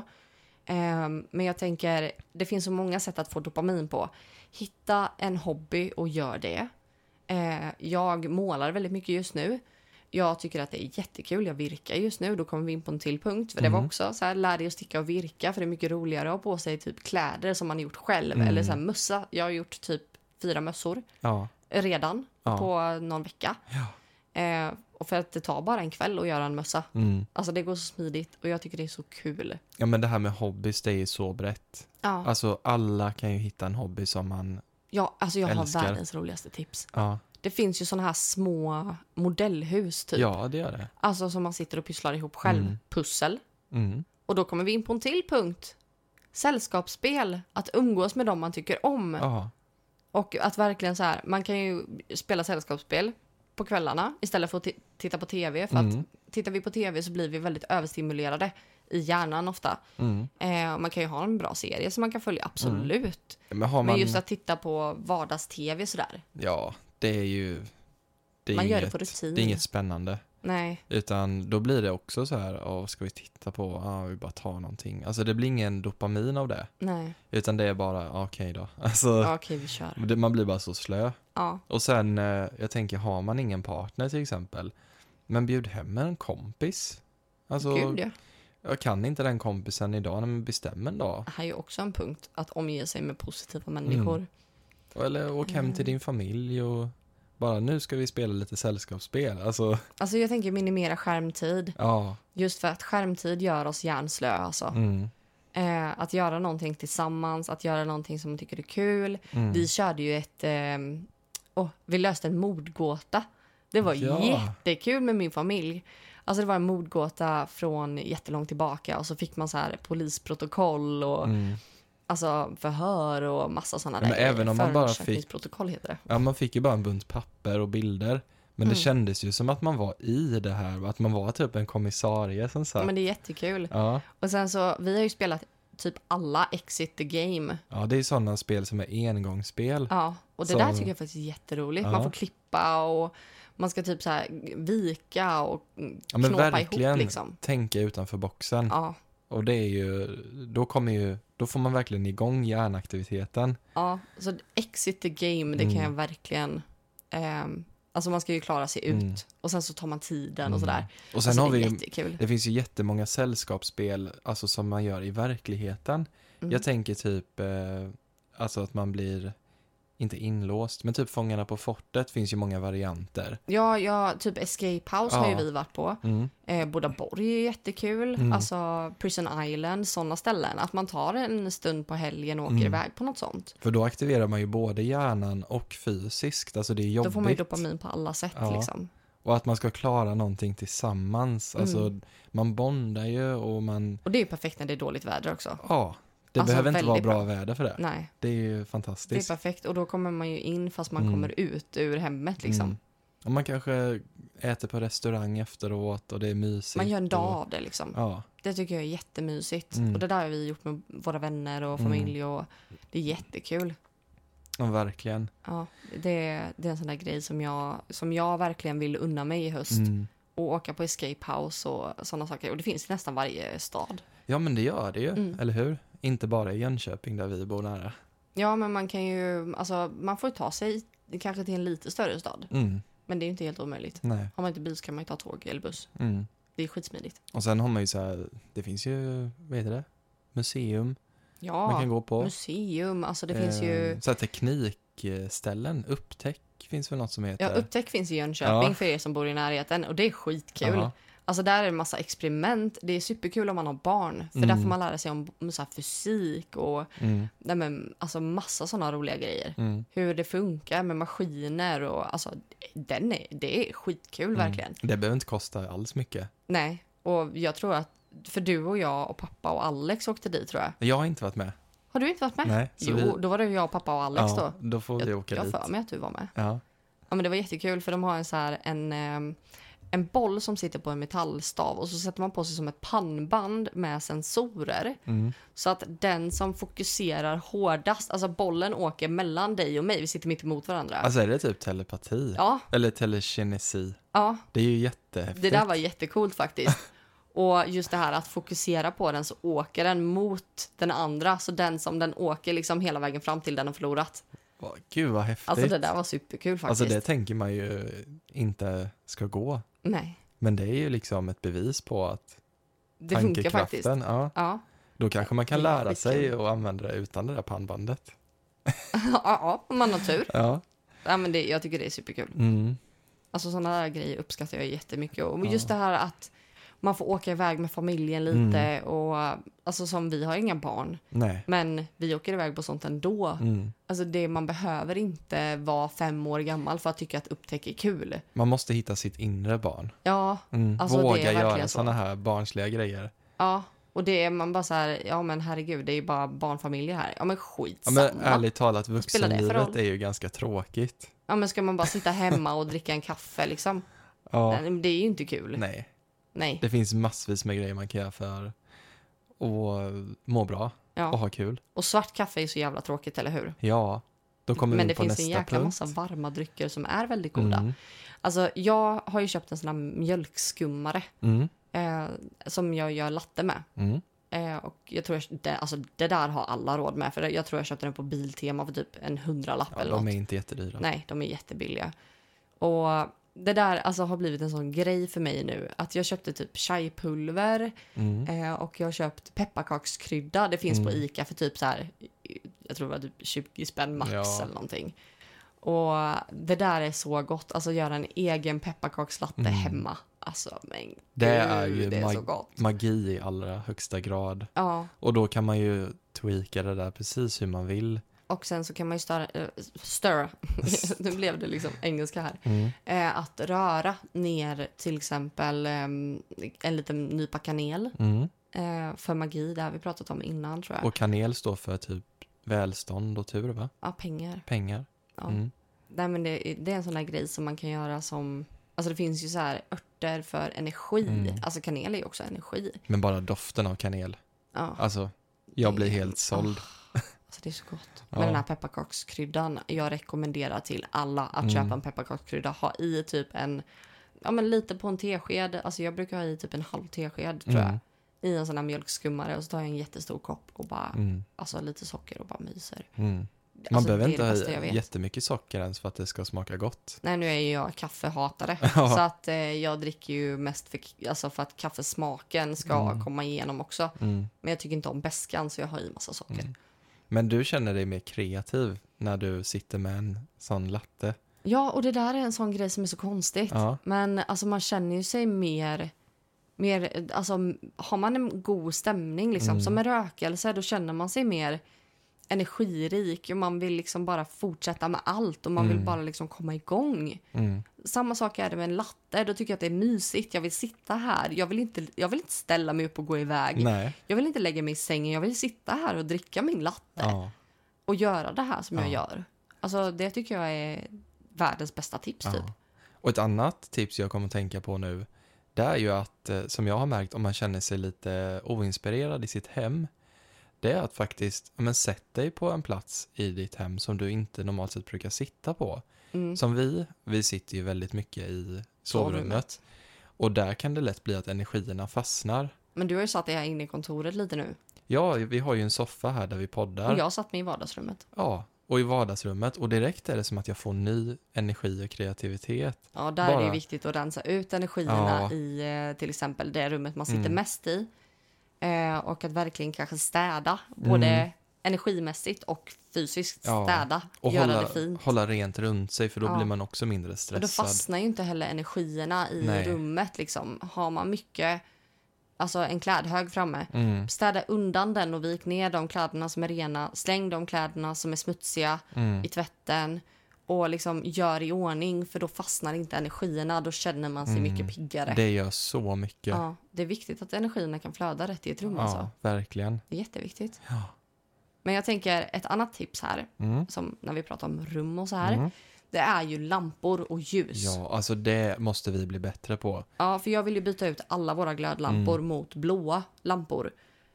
Eh, men jag tänker, det finns så många sätt att få dopamin på. Hitta en hobby och gör det. Eh, jag målar väldigt mycket just nu. Jag tycker att det är jättekul. Jag virkar just nu. Då kommer vi in på en till punkt. För det var
Mm.
också så här, lär dig att sticka och virka. För det är mycket roligare att ha på sig typ kläder som man har gjort själv.
Mm.
Eller så här mössa. Jag har gjort typ fyra mössor
Ja.
redan
Ja.
på någon vecka. Eh, och för att det tar bara en kväll att göra en mössa.
Mm.
Alltså det går så smidigt och jag tycker det är så kul.
ja, men det här med hobbys, det är ju så brett.
Ja,
Alltså alla kan ju hitta en hobby som man,
ja alltså jag
älskar.
har världens roligaste tips.
ja,
Det finns ju såna här små modellhus typ.
ja det gör det.
Alltså som man sitter och pysslar ihop själv.
Mm.
Pussel.
Mm.
Och då kommer vi in på en till punkt. Sällskapsspel. Att umgås med dem man tycker om.
Ja.
Och att verkligen så här, man kan ju spela sällskapsspel på kvällarna istället för att ti- titta på tv. För
Mm.
att tittar vi på tv så blir vi väldigt överstimulerade i hjärnan ofta.
Mm.
Eh, och man kan ju ha en bra serie som man kan följa, absolut.
Men har Mm. man,
Men just att titta på vardags-tv sådär.
ja, det är ju, det är
Man
ju
gör det
inget,
på rutin.
det är inget spännande.
Nej,
Utan då blir det också så här, ja, vad ska vi titta på? Ja, vi bara tar någonting. Alltså det blir ingen dopamin av det.
nej.
Utan det är bara, ja, okej då. Alltså,
Ja, okej, vi kör.
det, man blir bara så slö.
Ja,
Och sen, eh, jag tänker, har man ingen partner till exempel, men bjud hem en kompis. Alltså,
gud ja.
jag kan inte den kompisen idag, men bestäm en dag.
Det här är ju också en punkt, att omge sig med positiva människor.
Mm. Eller åk hem
Mm.
till din familj och bara nu ska vi spela lite sällskapsspel. Alltså,
Alltså jag tänker minimera skärmtid,
ja.
just för att skärmtid gör oss hjärnslö alltså.
Mm,
Eh, att göra någonting tillsammans, att göra någonting som man tycker är kul.
mm.
Vi körde ju ett... Eh, åh, vi löste en mordgåta. Det var
Ja.
jättekul med min familj. Alltså det var en mordgåta från jättelångt tillbaka och så fick man så här polisprotokoll och
Mm.
alltså förhör och massa sådana
Men även om man bara fick-
Förundersökningsprotokoll heter det.
Ja, man fick ju bara en bunt papper och bilder. Men
Mm.
det kändes ju som att man var i det här, att man var typ en kommissarie som satt.
Men det är jättekul.
Ja,
Och sen så, vi har ju spelat typ alla Exit the Game.
ja, det är sådana spel som är engångsspel.
Ja, och det
Så-
där tycker jag faktiskt är jätteroligt.
typ. Ja.
Man får klippa och man ska typ så här vika och mm,
Ja, men
knåpa
verkligen Mm.
ihop liksom.
tänka utanför boxen.
Ja,
Och det är ju, då kommer ju, då får man verkligen igång hjärnaktiviteten.
ja, så Exit the Game, det
Mm.
kan jag verkligen... ehm, alltså man ska ju klara sig ut
Mm.
och sen så tar man tiden och sådär.
Och sen
Alltså
har
det
vi
är
ju,
jättekul.
det finns ju jättemånga sällskapsspel, alltså som man gör i verkligheten.
Mm.
Jag tänker typ, eh, alltså att man blir, inte inlåst, men typ Fångarna på fortet finns ju många varianter.
Ja, ja, typ Escape House har ju
Ja.
vi varit på.
Mm.
Eh, Bodaborg är jättekul. Alltså Prison Island, sådana ställen. Att man tar en stund på helgen och åker
Mm.
iväg på något sånt.
För då aktiverar man ju både hjärnan och fysiskt, alltså det är jobbigt.
Då får man ju dopamin på alla sätt
Ja.
liksom.
Och att man ska klara någonting tillsammans,
Mm.
alltså man bondar ju och man,
Och det är ju perfekt när det är dåligt väder också.
ja, det
Alltså,
behöver inte vara
väldigt
bra,
bra.
väder för det.
Nej,
Det är ju
det är
fantastiskt.
perfekt. Och då kommer man ju in fast man
Mm.
kommer ut ur hemmet liksom.
Mm. Och man kanske äter på restaurang efteråt och det är mysigt.
Man gör en dag
Och,
av det liksom.
typ ja,
Det tycker jag är jättemysigt.
Mm.
Och det där har vi gjort med våra vänner och
Mm.
familj och det är jättekul.
ja, verkligen.
Ja, det, det är en sån där grej som jag, som jag verkligen vill unna mig i höst.
Mm.
Och åka på escape house och sådana saker. Och det finns i nästan varje stad.
Ja, men det gör det ju,
Mm.
eller hur? Inte bara i Jönköping där vi bor nära.
Ja, men man kan ju, alltså man får ju ta sig kanske till en lite större stad.
Mm.
Men det är ju inte helt omöjligt.
Nej.
Har man inte bil så kan man ju ta tåg eller buss.
Mm.
Det är skitsmidigt.
Och sen har man ju så här, det finns ju, vad heter det? Museum man kan
Ja,
gå på.
museum. Alltså det finns ju...
Eh, Så här teknikställen, upptäck finns väl något som heter?
Ja, Upptäck finns i Jönköping
Ja.
för er som bor i närheten och det är skitkul.
Jaha.
Alltså där är det massa experiment. Det är superkul om man har barn för där
Mm.
får man lära sig om om så här, fysik och
Mm.
nej, men, alltså, massa sådana roliga grejer.
Mm.
Hur det funkar med maskiner och alltså den är, det är skitkul
Mm.
verkligen.
Det behöver inte kosta alls mycket.
Nej, och jag tror att för du och jag och pappa och Alex åkte dit tror jag.
Jag har inte varit med.
Har du inte varit med?
Nej, så
jo,
vi-
då var det ju jag, pappa och Alex
ja,
då.
då. får vi
Jag,
åka
jag har
dit.
för mig att du var med.
Ja.
Ja, men det var jättekul för de har en så här en, ehm, en boll som sitter på en metallstav och så sätter man på sig som ett pannband med sensorer.
Mm.
Så att den som fokuserar hårdast, alltså bollen åker mellan dig och mig, vi sitter mitt emot varandra.
Alltså är det typ telepati?
ja,
Eller telekinesi?
ja,
Det är ju jättehäftigt.
det där var jättecoolt faktiskt. Och just det här att fokusera på den så åker den mot den andra, så den som den åker liksom hela vägen fram till den har förlorat.
Vad- Gud vad häftigt.
Alltså det där var superkul faktiskt.
Alltså, det tänker man ju inte ska gå.
Nej,
Men det är ju liksom ett bevis på att
det funkar faktiskt.
ja,
Ja.
då kanske man kan
Det är
lära sig
skitkul.
och använda det utan det där pannbandet.
ja, ja, om man har tur.
Ja.
Ja, men det, jag tycker det är superkul.
Mm.
Alltså sådana där grejer uppskattar jag jättemycket. Och just det här att man får åka iväg med familjen lite och alltså som vi har inga barn,
Nej.
men vi åker iväg på sånt ändå.
Mm.
Alltså det man behöver inte vara fem år gammal för att tycka att upptäck är kul.
Man måste hitta sitt inre barn.
Ja,
Mm.
Alltså, det är
Våga göra
verkligen så.
sådana här barnsliga grejer.
ja. Och det är man bara så här, ja men herregud, det är ju bara barnfamiljer här. Ja men
Ja,
skitsamma.
men ärligt talat,
spelar det för
vuxenlivet
roll?
är ju ganska tråkigt.
ska man bara sitta hemma och dricka en kaffe liksom?
Ja.
Nej, Det är ju inte kul. Nej.
Nej. Det finns massvis med grejer man kan göra för att må bra och
Ja.
ha kul.
Och svart kaffe är så jävla tråkigt, eller hur?
Ja, då kommer vi
Men det
in på
finns
nästa
en
punkt. Mm.
jäkla massa varma drycker som är väldigt goda. Alltså, jag har ju köpt en sån här mjölkskummare
Mm,
eh, som jag gör latte med.
mm,
Eh, och jag tror jag, det, alltså, det där har alla råd med. För jag tror jag köpte den på Biltema för typ en hundralapp
ja,
eller
de
något.
är inte jättedyra.
Nej, de är jättebilliga. Och det där alltså, har blivit en sån grej för mig nu. Att jag köpte typ chai-pulver
Mm.
eh, och jag har köpt pepparkakskrydda. Det finns på
Mm.
Ica för typ så här, jag tror det var typ 20 spänn max
Ja.
eller någonting. Och det där är så gott, alltså göra en egen pepparkakslatte
Mm.
hemma. Alltså men
Det är
gud,
ju
det är så
mag-
gott.
Magi i allra högsta grad.
Ja,
Och då kan man ju tweaka det där precis hur man vill.
och sen så kan man ju störa, eh, störa. nu blev det liksom engelska här.
Mm.
Eh, att röra ner till exempel ehm, en liten nypa kanel
Mm.
eh, för magi. Det har vi pratat om innan tror jag.
Och kanel står för typ välstånd och tur, va?
ja, pengar.
Pengar.
Ja.
Mm.
Nej, men det, är- det är en sån där grej som man kan göra som... Alltså det finns ju så här örter för energi.
Mm.
Alltså kanel är ju också energi.
Men bara doften av kanel.
Ja.
Alltså, jag blir
Det-
helt såld.
Alltså det är så gott.
Ja.
Men den här pepparkakskryddan, jag rekommenderar till alla att
Mm.
köpa en pepparkakskrydda. Ha i typ en, ja men lite på en tesked. Alltså jag brukar ha i typ en halv tesked tror
Mm.
jag. I en sån här mjölkskummare och så tar jag en jättestor kopp och bara,
Mm.
alltså lite socker och bara myser.
Mm. Man
Man alltså,
behöver
det är
inte
det
ha
bästa jag vet.
i jättemycket socker ens för att det ska smaka gott.
Nej nu är ju jag kaffehatare.
Ja.
Så att eh, jag dricker ju mest för, alltså för att kaffesmaken ska
Mm.
komma igenom också.
Mm.
Men jag tycker inte om beskan så jag har i massa socker.
Mm. Men du känner dig mer kreativ när du sitter med en sån latte.
Ja, och det där är en sån grej som är så konstigt.
Ja.
Men alltså, man känner ju sig mer... mer alltså, har man en god stämning, liksom,
Mm.
som en rökelse, då känner man sig mer energirik och man vill liksom bara fortsätta med allt och man vill
Mm.
bara liksom komma igång.
Mm.
Samma sak är det med en latte. Då tycker jag att det är mysigt. Jag vill sitta här. Jag vill inte, jag vill inte ställa mig upp och gå iväg.
Nej.
Jag vill inte lägga mig i sängen. Jag vill sitta här och dricka min latte
Ja.
och göra det här som jag
Ja.
gör. Alltså det tycker jag är världens bästa tips typ.
Ja. Och ett annat tips jag kommer att tänka på nu, det är ju att, eh, som jag har märkt, om man känner sig lite oinspirerad i sitt hem, det är att faktiskt, ja, men sätt dig på en plats i ditt hem som du inte normalt sett brukar sitta på.
Mm.
Som vi, vi sitter ju väldigt mycket i sovrummet. Och där kan det lätt bli att energierna fastnar.
Men du har ju satt dig här inne i kontoret lite nu.
Ja, vi har ju en soffa här där vi poddar.
Och jag satt mig i vardagsrummet.
Ja, och i vardagsrummet. Och direkt är det som att jag får ny energi och kreativitet.
Ja, där är det ju
Bara.
viktigt att rensa ut energierna
Ja.
i eh, till exempel det rummet man sitter
Mm.
mest i. Eh, och att verkligen kanske städa, både
Mm.
energimässigt och fysiskt
Ja.
städa.
Och
göra
hålla,
det fint.
hålla rent runt sig för då
Ja.
blir man också mindre
Och då
stressad.
fastnar ju inte heller energierna i
Nej.
rummet liksom. Har man mycket, alltså en klädhög framme,
Mm,
städa undan den och vik ner de kläderna som är rena. Släng de kläderna som är smutsiga
mm,
i tvätten och liksom gör i ordning för då fastnar inte energierna. Då känner man sig
Mm.
mycket piggare.
det gör så mycket. Ja,
ja, det är viktigt att energierna kan flöda rätt i ett rum. Alltså.
verkligen.
Det är jätteviktigt.
Ja.
Men jag tänker ett annat tips här,
Mm,
som när vi pratar om rum och så här,
mm.
det är ju lampor och ljus.
Ja, alltså det måste vi bli bättre på.
Ja, för jag vill ju byta ut alla våra glödlampor
Mm.
mot blåa lampor.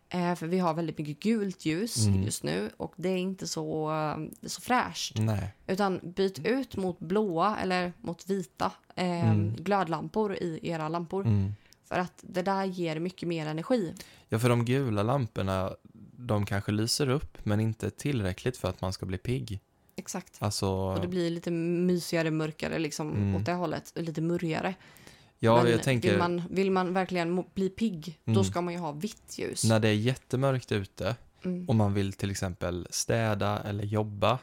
Eh, för vi har väldigt mycket gult ljus
Mm.
just nu och det är inte så, eh, det är så fräscht.
Nej.
Utan byt ut mot blåa eller mot vita eh,
Mm.
glödlampor i era lampor.
Mm.
För att det där ger mycket mer energi.
Ja, för de gula lamporna, de kanske lyser upp men inte tillräckligt för att man ska bli pigg.
Exakt.
Alltså,
Och det blir lite mysigare, mörkare liksom
Mm.
åt det hållet. och Lite murrigare.
ja,
Men
jag tänker...
vill, man, vill man verkligen mo- bli pigg, då
Mm.
ska man ju ha vitt ljus.
När det är jättemörkt ute
Mm.
och man vill till exempel städa eller jobba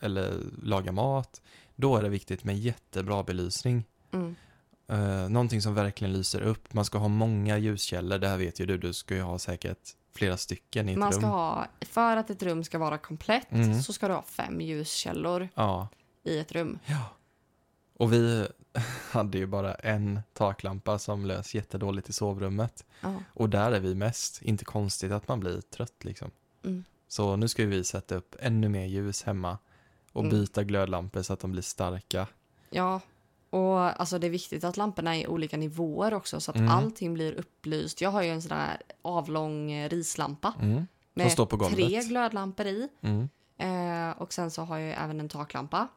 eller laga mat, då är det viktigt med jättebra belysning.
Mm.
Uh, någonting som verkligen lyser upp. Man ska ha många ljuskällor, det här vet ju du, du ska ju ha säkert flera stycken i ett
Man
rum.
ska ha, för att ett rum ska vara komplett
Mm.
så ska du ha fem ljuskällor
Ja,
i ett rum.
ja. Och vi hade ju bara en taklampa som lös jättedåligt i sovrummet.
Ja.
Och där är vi mest. Inte konstigt att man blir trött liksom.
Mm.
Så nu ska vi sätta upp ännu mer ljus hemma och
Mm.
byta glödlampor så att de blir starka.
Ja, och alltså det är viktigt att lamporna är i olika nivåer också så att
Mm.
allting blir upplyst. Jag har ju en sån här avlång eh, rislampa
Mm. Som
med
står på golvet.
tre glödlampor i.
Mm.
Eh, och sen så har jag ju även en taklampa.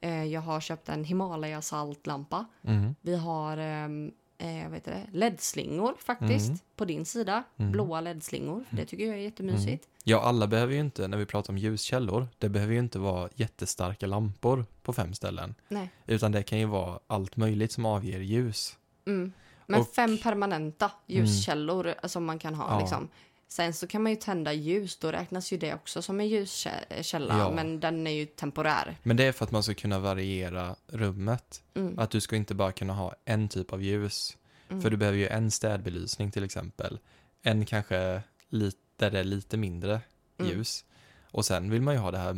Eh, jag har köpt en Himalaya saltlampa.
Mm.
Vi har ehm, eh, vad heter det? LED-slingor faktiskt
Mm.
på din sida.
Mm.
Blåa LED-slingor. för Det tycker jag är jättemysigt.
Ja, alla behöver ju inte, när vi pratar om ljuskällor, det behöver ju inte vara jättestarka lampor på fem ställen.
Nej.
Utan det kan ju vara allt möjligt som avger ljus.
Mm. Men
Och-
fem permanenta ljuskällor eh, som man kan ha.
Ja.
Liksom. Sen så kan man ju tända ljus, då räknas ju det också som en ljuskälla,
Ja.
men den är ju temporär.
Men det är för att man ska kunna variera rummet.
Mm.
Att du ska inte bara kunna ha en typ av ljus.
Mm.
För du behöver ju en städbelysning till exempel. En kanske lite, där det är lite mindre
Mm.
ljus. Och sen vill man ju ha det här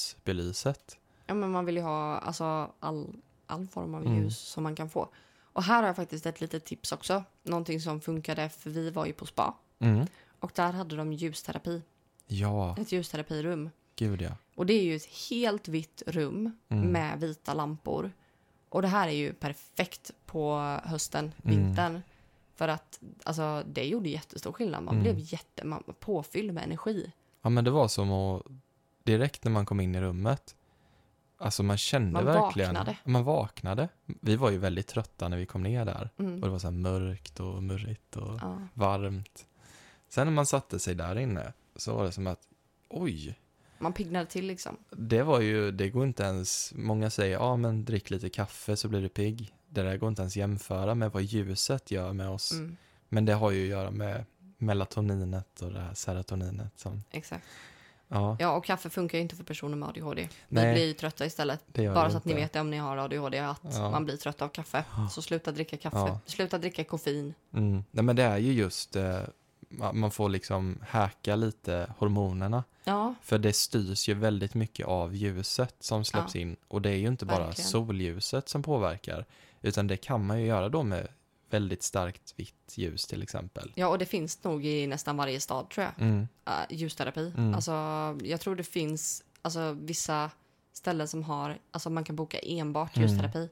mysbelyset.
Ja, men man vill ju ha alltså, all, all form av ljus
Mm.
som man kan få. Och här har jag faktiskt ett litet tips också. Någonting som funkade, för vi var ju på spa
Mm.
och där hade de ljusterapi,
Ja,
ett ljusterapirum.
gud ja.
Och det är ju ett helt vitt rum
Mm.
med vita lampor. Och det här är ju perfekt på hösten,
Mm.
vintern. För att alltså, det gjorde jättestor skillnad. Man
Mm.
blev jätte, man, var påfylld med energi.
Ja, men det var som att direkt när man kom in i rummet, alltså man kände
Man
verkligen.
vaknade.
Man vaknade. Vi var ju väldigt trötta när vi kom ner där.
Mm.
Och det var så här mörkt och murrigt och
Ja.
varmt. Sen när man satte sig där inne så var det som att oj,
Man piggnade till liksom.
det var ju, det går inte ens, många säger ja ah, men drick lite kaffe så blir du pigg. Det där går inte ens jämföra med vad ljuset gör med oss.
Mm,
Men det har ju att göra med melatoninet och det här serotoninet som,
exakt.
ja,
Ja, och kaffe funkar ju inte för personer med ADHD.
Nej.
Vi blir ju trötta istället.
det gör
Bara
det
så att ni
inte.
vet det om ni har ADHD att
Ja.
man blir trött av kaffe. Så sluta dricka kaffe.
Ja.
Sluta dricka koffein.
Mm. Nej, men det är ju just, eh, ma- man får liksom häka lite hormonerna.
Ja,
För det styrs ju väldigt mycket av ljuset som släpps in. Och det är ju inte bara
Verkligen.
solljuset som påverkar. Utan det kan man ju göra då med väldigt starkt vitt ljus till exempel.
ja och det finns nog i nästan varje stad tror jag.
Mm.
äh, ljusterapi.
Mm.
Alltså, jag tror det finns alltså, vissa ställen som har, alltså man kan boka enbart
Mm.
ljusterapi.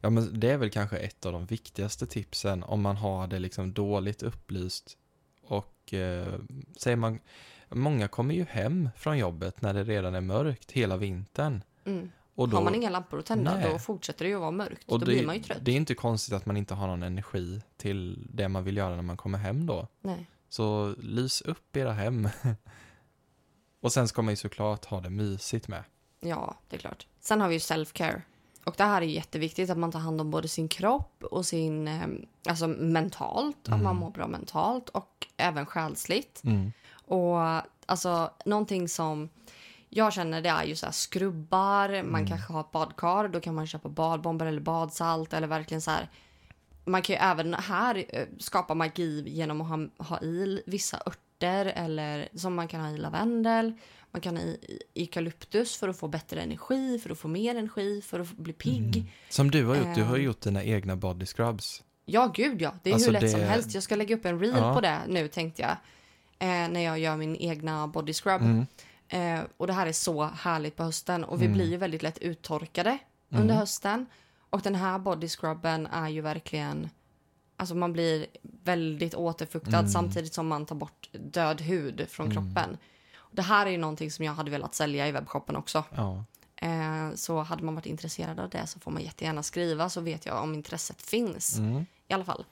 Ja, men det är väl kanske ett av de viktigaste tipsen om man har det liksom dåligt upplyst. Och eh, säger man, många kommer ju hem från jobbet när det redan är mörkt hela vintern.
Mm.
Och då,
har man inga lampor att tända
Nej.
då fortsätter det ju att vara mörkt.
Och
då
det,
blir man ju trött.
Det är inte konstigt att man inte har någon energi till det man vill göra när man kommer hem då.
Nej.
Så lys upp era hem. och sen ska man ju såklart ha det mysigt med.
Ja, det är klart. Sen har vi ju self-care. Och det här är jätteviktigt att man tar hand om både sin kropp och sin, eh, alltså mentalt, att
Mm.
man mår bra mentalt och även själsligt. Och alltså någonting som jag känner det är ju så här skrubbar, man kanske har ett badkar, då kan man köpa badbomber eller badsalt eller verkligen så här. Man kan ju även här eh, skapa magi genom att ha, ha i vissa örter eller som man kan ha i lavendel. Man kan ha i, i eukalyptus för att få bättre energi, för att få mer energi, för att bli pigg.
Som du har gjort, du har
Ehm.
gjort dina egna body scrubs.
Ja, gud ja. Det är
Alltså,
hur lätt
det-
som helst. Jag ska lägga upp en reel
Ja.
på det nu tänkte jag. Eh, när jag gör min egna body scrub.
Mm.
Eh, och det här är så härligt på hösten. Och vi blir ju väldigt lätt uttorkade
Mm.
under hösten. Och den här body scrubben är ju verkligen... Alltså man blir väldigt återfuktad
Mm.
samtidigt som man tar bort död hud från kroppen. Det här är ju någonting som jag hade velat sälja i webbshoppen också.
Ja.
Eh, så hade man varit intresserad av det så får man jättegärna skriva så vet jag om intresset finns. I alla fall.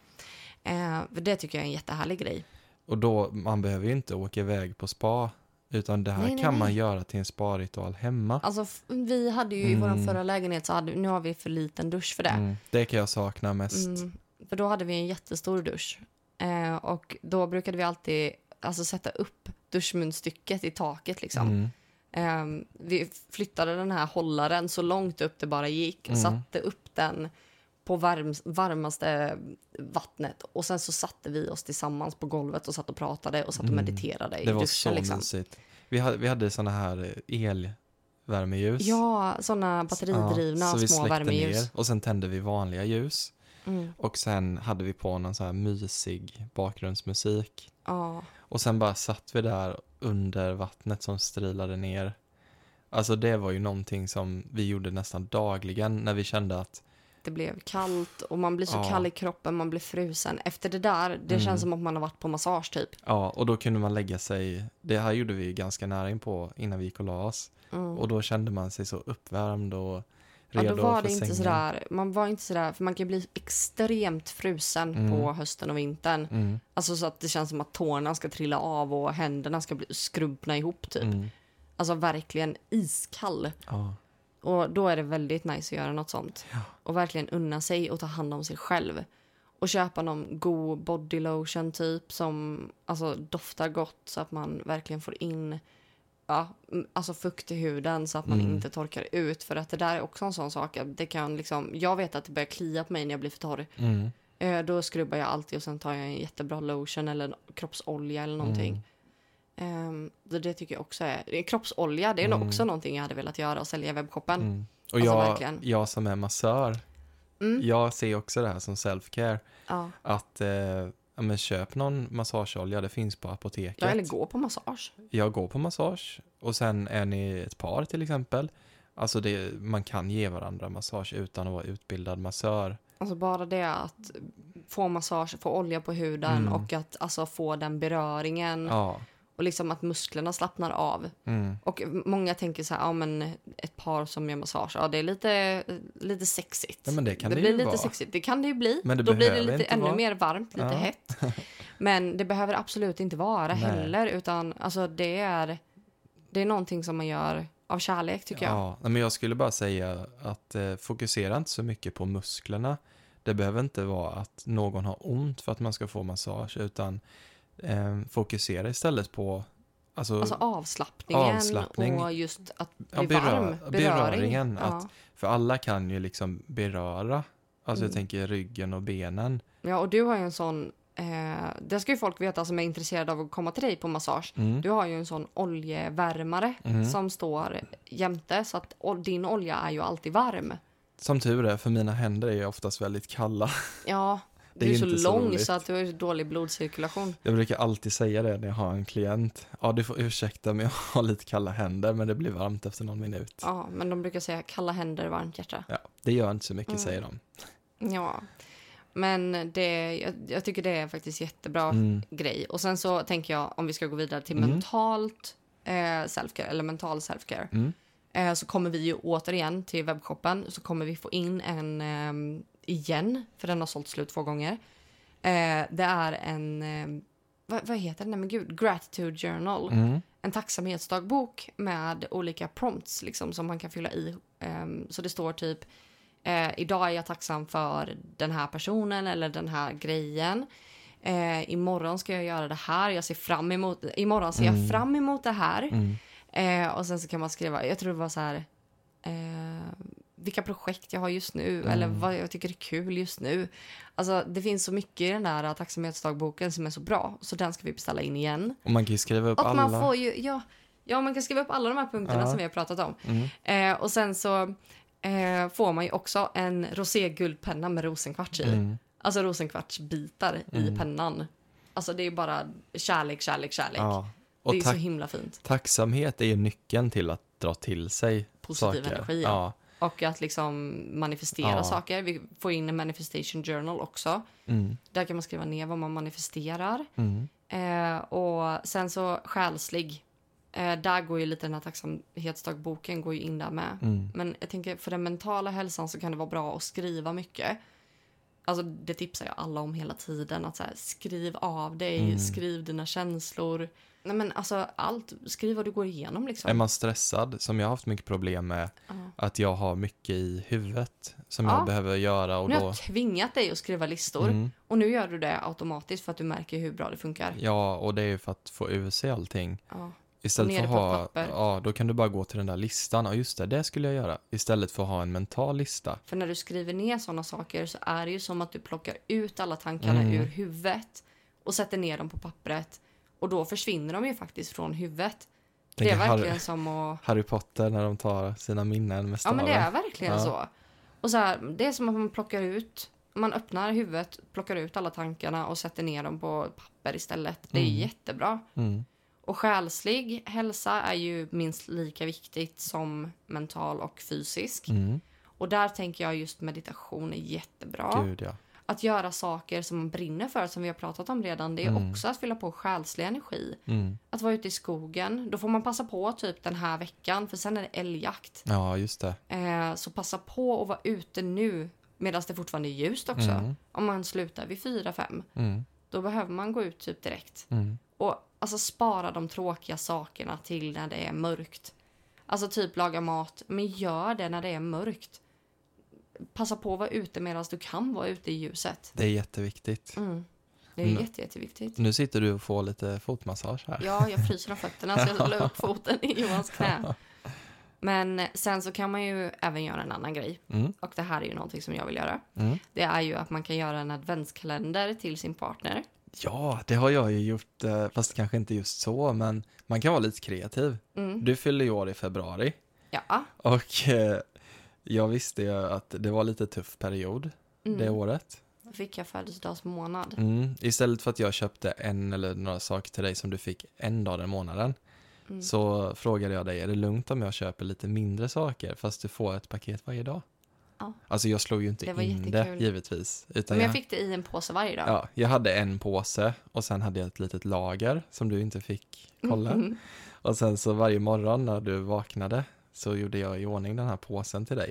Eh, för det tycker jag är en jättehärlig grej.
Och då, man behöver ju inte åka iväg på spa. Utan det här
Nej, nej,
kan
nej.
man göra till en spa-ritual hemma.
Alltså f- vi hade ju i vår förra lägenhet så hade, nu har vi för liten dusch för det.
Mm. Det kan jag sakna mest.
Mm, för då hade vi en jättestor dusch. Eh, och då brukade vi alltid alltså, sätta upp duschmunstycket i taket liksom.
Mm.
Eh, vi flyttade den här hållaren så långt upp det bara gick och
Mm.
satte upp den på varm, varmaste vattnet och sen så satte vi oss tillsammans på golvet och satt och pratade och satt och
Mm.
mediterade i
Det var
duschen
så
liksom.
mysigt. Vi hade, vi hade såna här eh, elvärmeljus.
Ja, såna batteridrivna
Ja, så vi
små
släckte
värmeljus.
och sen tände vi vanliga ljus.
Mm.
Och sen hade vi på någon så här mysig bakgrundsmusik.
Ja,
Och sen bara satt vi där under vattnet som strilade ner. Alltså det var ju någonting som vi gjorde nästan dagligen när vi kände att
det blev kallt och man blir så
Ja. Mm.
kall i kroppen, man blir frusen. Efter det där, det känns som att man har varit på massage typ.
ja, och då kunde man lägga sig. Det här gjorde vi ju ganska nära in på innan vi gick och la oss.
Mm.
Och då kände man sig så uppvärmd och
Ja,
redo
då var
för
det inte
sängen.
sådär, man var inte sådär, för man kan bli extremt frusen
Mm.
på hösten och vintern.
Mm,
Alltså så att det känns som att tårna ska trilla av och händerna ska bli skrubbna ihop typ.
mm,
Alltså verkligen iskall.
ja.
Och då är det väldigt nice att göra något sånt. Och verkligen unna sig och ta hand om sig själv. Och köpa någon god body lotion typ som alltså, doftar gott så att man verkligen får in ja, m- alltså fukt i huden så att man
Mm.
inte torkar ut. För att det där är också en sån sak. att Det kan liksom, jag vet att det börjar klia på mig när jag blir för torr.
Mm,
Eh, Då skrubbar jag alltid och sen tar jag en jättebra lotion eller en kroppsolja eller någonting. Ehm, så det tycker jag också är... Kroppsolja, det är nog
Mm.
också någonting jag hade velat göra och sälja i webbshoppen.
mm. Och
Alltså,
jag,
verkligen.
jag som är massör,
Mm.
jag ser också det här som self-care.
Ja.
Att eh, ja, men köp någon massageolja, det finns på apoteket.
ja, eller gå på massage.
jag går på massage och sen är ni ett par till exempel. Alltså det, man kan ge varandra massage utan att vara utbildad massör.
Alltså bara det att få massage, få olja på huden
Mm.
och att alltså, få den beröringen
Ja.
och liksom att musklerna slappnar av.
Mm.
Och många tänker så här, ja men ett par som gör massage, ja det är lite, lite sexigt.
Ja, men det kan det
blir
ju
lite
vara.
sexigt, det kan det ju bli.
Men det
Då blir det
behöver
lite
inte
ännu
vara.
mer varmt, lite
Ja.
hett. Men det behöver absolut inte vara
Nej.
heller, utan alltså det är, det är någonting som man gör av kärlek tycker jag.
Ja, nej, men jag skulle bara säga att eh, fokusera inte så mycket på musklerna. Det behöver inte vara att någon har ont för att man ska få massage utan eh, fokusera istället på alltså,
Alltså avslappningen
Avslappning.
och just att bli
Ja, berö-
varm.
beröringen,
Ja.
att- för alla kan ju liksom beröra. Alltså
Mm.
jag tänker ryggen och benen.
ja, och du har ju en sån, eh, det ska ju folk veta som är intresserade av att komma till dig på massage.
Mm.
Du har ju en sån oljevärmare
Mm.
som står jämte så att ol- din olja är ju alltid varm.
Som tur är, för mina händer är ju oftast väldigt kalla.
Ja,
Det
du
är
är så
inte så
lång
roligt.
så att du har ju dålig blodcirkulation.
Jag brukar alltid säga det när jag har en klient. Ja, du får ursäkta men jag har lite kalla händer men det blir varmt efter någon minut.
Ja, men de brukar säga kalla händer, varmt hjärta.
Ja, det gör inte så mycket
Mm.
säger de.
Ja, men det, jag, jag tycker det är faktiskt jättebra
Mm.
grej. Och sen så tänker jag om vi ska gå vidare till
Mm.
mentalt eh, selfcare eller mental selfcare.
Mm.
Eh, så kommer vi ju återigen till webbshoppen så kommer vi få in en ehm, igen för den har sålt slut två gånger. Eh, det är en ehm, vad, vad heter den? Nej, men gud, gratitude journal.
Mm.
En tacksamhetsdagbok med olika prompts liksom, som man kan fylla i. Ehm, så det står typ Eh, idag är jag tacksam för den här personen eller den här grejen. Eh, imorgon ska jag göra det här. Jag ser fram emot, imorgon ser jag fram emot det här.
Mm.
Eh, och sen så kan man skriva, jag tror det var så här, eh, vilka projekt jag har just nu eller vad jag tycker är kul just nu. Alltså det finns så mycket i den där tacksamhetsdagboken som är så bra så den ska vi beställa in igen.
Och man kan ju skriva upp
Och
alla.
man får ju, ja, ja, man kan skriva upp alla de här punkterna
Ja.
som vi har pratat om.
Mm.
Eh, och sen så eh, får man ju också en roséguldpenna med rosenkvarts i.
Mm.
Alltså rosenkvartsbitar i pennan. Alltså det är bara kärlek, kärlek, kärlek.
Ja.
det är
Och
ju så
tack,
himla fint.
tacksamhet är ju nyckeln till att dra till sig
Positiv
saker.
energi, ja.
Ja.
Och att liksom manifestera
Ja.
saker. Vi får in en manifestation journal också.
Mm.
Där kan man skriva ner vad man manifesterar.
Mm.
Eh, och sen så själslig. Eh, där går ju lite den här tacksamhetsdagboken går ju in där med.
Mm.
Men jag tänker för den mentala hälsan så kan det vara bra att skriva mycket. Alltså det tipsar jag alla om hela tiden. Att så här, skriv av dig,
Mm.
skriv dina känslor. Nej men alltså allt, skriv vad du går igenom liksom.
Är man stressad, som jag har haft mycket problem med,
Ja.
att jag har mycket i huvudet som
Ja.
jag behöver göra och
Nu har
då...
jag tvingat dig att skriva listor
Mm.
och nu gör du det automatiskt för att du märker hur bra det funkar.
Ja, och det är ju för att få ur sig allting.
Ja.
Istället
Ner
för att
på ett
ha,
papper.
ja, då kan du bara gå till den där listan. Ja, just det, det skulle jag göra. Istället för att ha en mental lista.
För när du skriver ner sådana saker så är det ju som att du plockar ut alla tankarna
Mm.
ur huvudet och sätter ner dem på pappret. Och då försvinner de ju faktiskt från huvudet. Det
Tänker
är verkligen
Harry,
som att
Harry Potter när de tar sina minnen med
Ja,
staven.
men det är verkligen
Ja.
så. Och så här, det är som att man plockar ut, man öppnar huvudet, plockar ut alla tankarna och sätter ner dem på papper istället. Det är
Mm.
jättebra.
Mm.
Och själslig hälsa är ju minst lika viktigt som mental och fysisk.
Mm.
Och där tänker jag just meditation är jättebra.
Gud, ja.
att göra saker som man brinner för, som vi har pratat om redan, det är
Mm.
också att fylla på själslig energi.
Mm.
Att vara ute i skogen, då får man passa på typ den här veckan, för sen är det älgjakt.
Ja, just det.
Eh, så passa på att vara ute nu, medan det fortfarande är ljust också.
Mm.
Om man slutar vid fyra fem
Mm.
då behöver man gå ut typ direkt.
Mm.
Och alltså spara de tråkiga sakerna till när det är mörkt. Alltså typ laga mat, men gör det när det är mörkt. Passa på att vara ute medan du kan vara ute i ljuset.
Det är jätteviktigt.
Mm. Det är ju
Mm.
jätte, jätteviktigt.
Nu sitter du och får lite fotmassage här.
Ja, jag fryser om fötterna så jag la upp foten i Johans knä. Men sen så kan man ju även göra en annan grej.
Mm.
Och det här är ju någonting som jag vill göra.
Mm.
Det är ju att man kan göra en adventskalender till sin partner.
Ja, det har jag ju gjort, eh, fast kanske inte just så, men man kan vara lite kreativ.
Mm.
Du fyller ju år i februari
Ja.
och eh, jag visste ju att det var lite tuff period det
Mm.
året.
Fick jag födelsedagsmånad.
Mm. Istället för att jag köpte en eller några saker till dig som du fick en dag den månaden
Mm.
så frågade jag dig, är det lugnt om jag köper lite mindre saker fast du får ett paket varje dag?
Ja.
Alltså jag slog ju inte
Det var
in
jättekul.
det givetvis. Utan
Men
jag-
jag fick det i en påse varje dag.
Ja, jag hade en påse och sen hade jag ett litet lager som du inte fick kolla.
Mm.
Och sen så varje morgon när du vaknade så gjorde jag i ordning den här påsen till dig.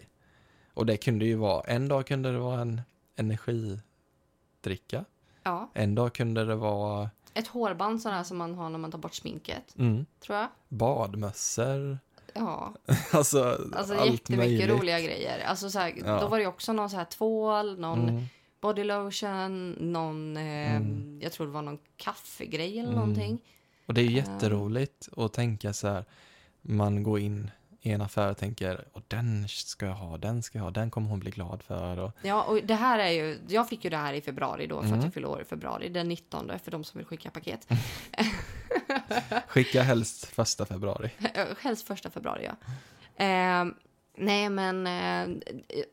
Och det kunde ju vara, en dag kunde det vara en energidricka,
Ja,
en dag kunde det vara
ett hårband sådär som man har när man tar bort sminket,
mm,
tror jag.
badmössor,
Ja,
alltså,
alltså
allt
jättemycket
möjligt.
roliga grejer. Alltså såhär,
Ja.
då var det ju också någon så här tvål, någon
Mm,
body lotion, någon, eh,
Mm.
jag tror det var någon kaffegrej eller
Mm.
någonting.
och det är ju jätteroligt att tänka så här, man går in i en affär och tänker, och den ska jag ha, den ska jag ha, den kommer hon bli glad för. Och,
Ja, och det här är ju, jag fick ju det här i februari då för
Mm.
att jag fyllde år i februari, den 19 för de som vill skicka paket.
Skicka helst första februari.
Helst första februari, ja. Eh, nej, men eh,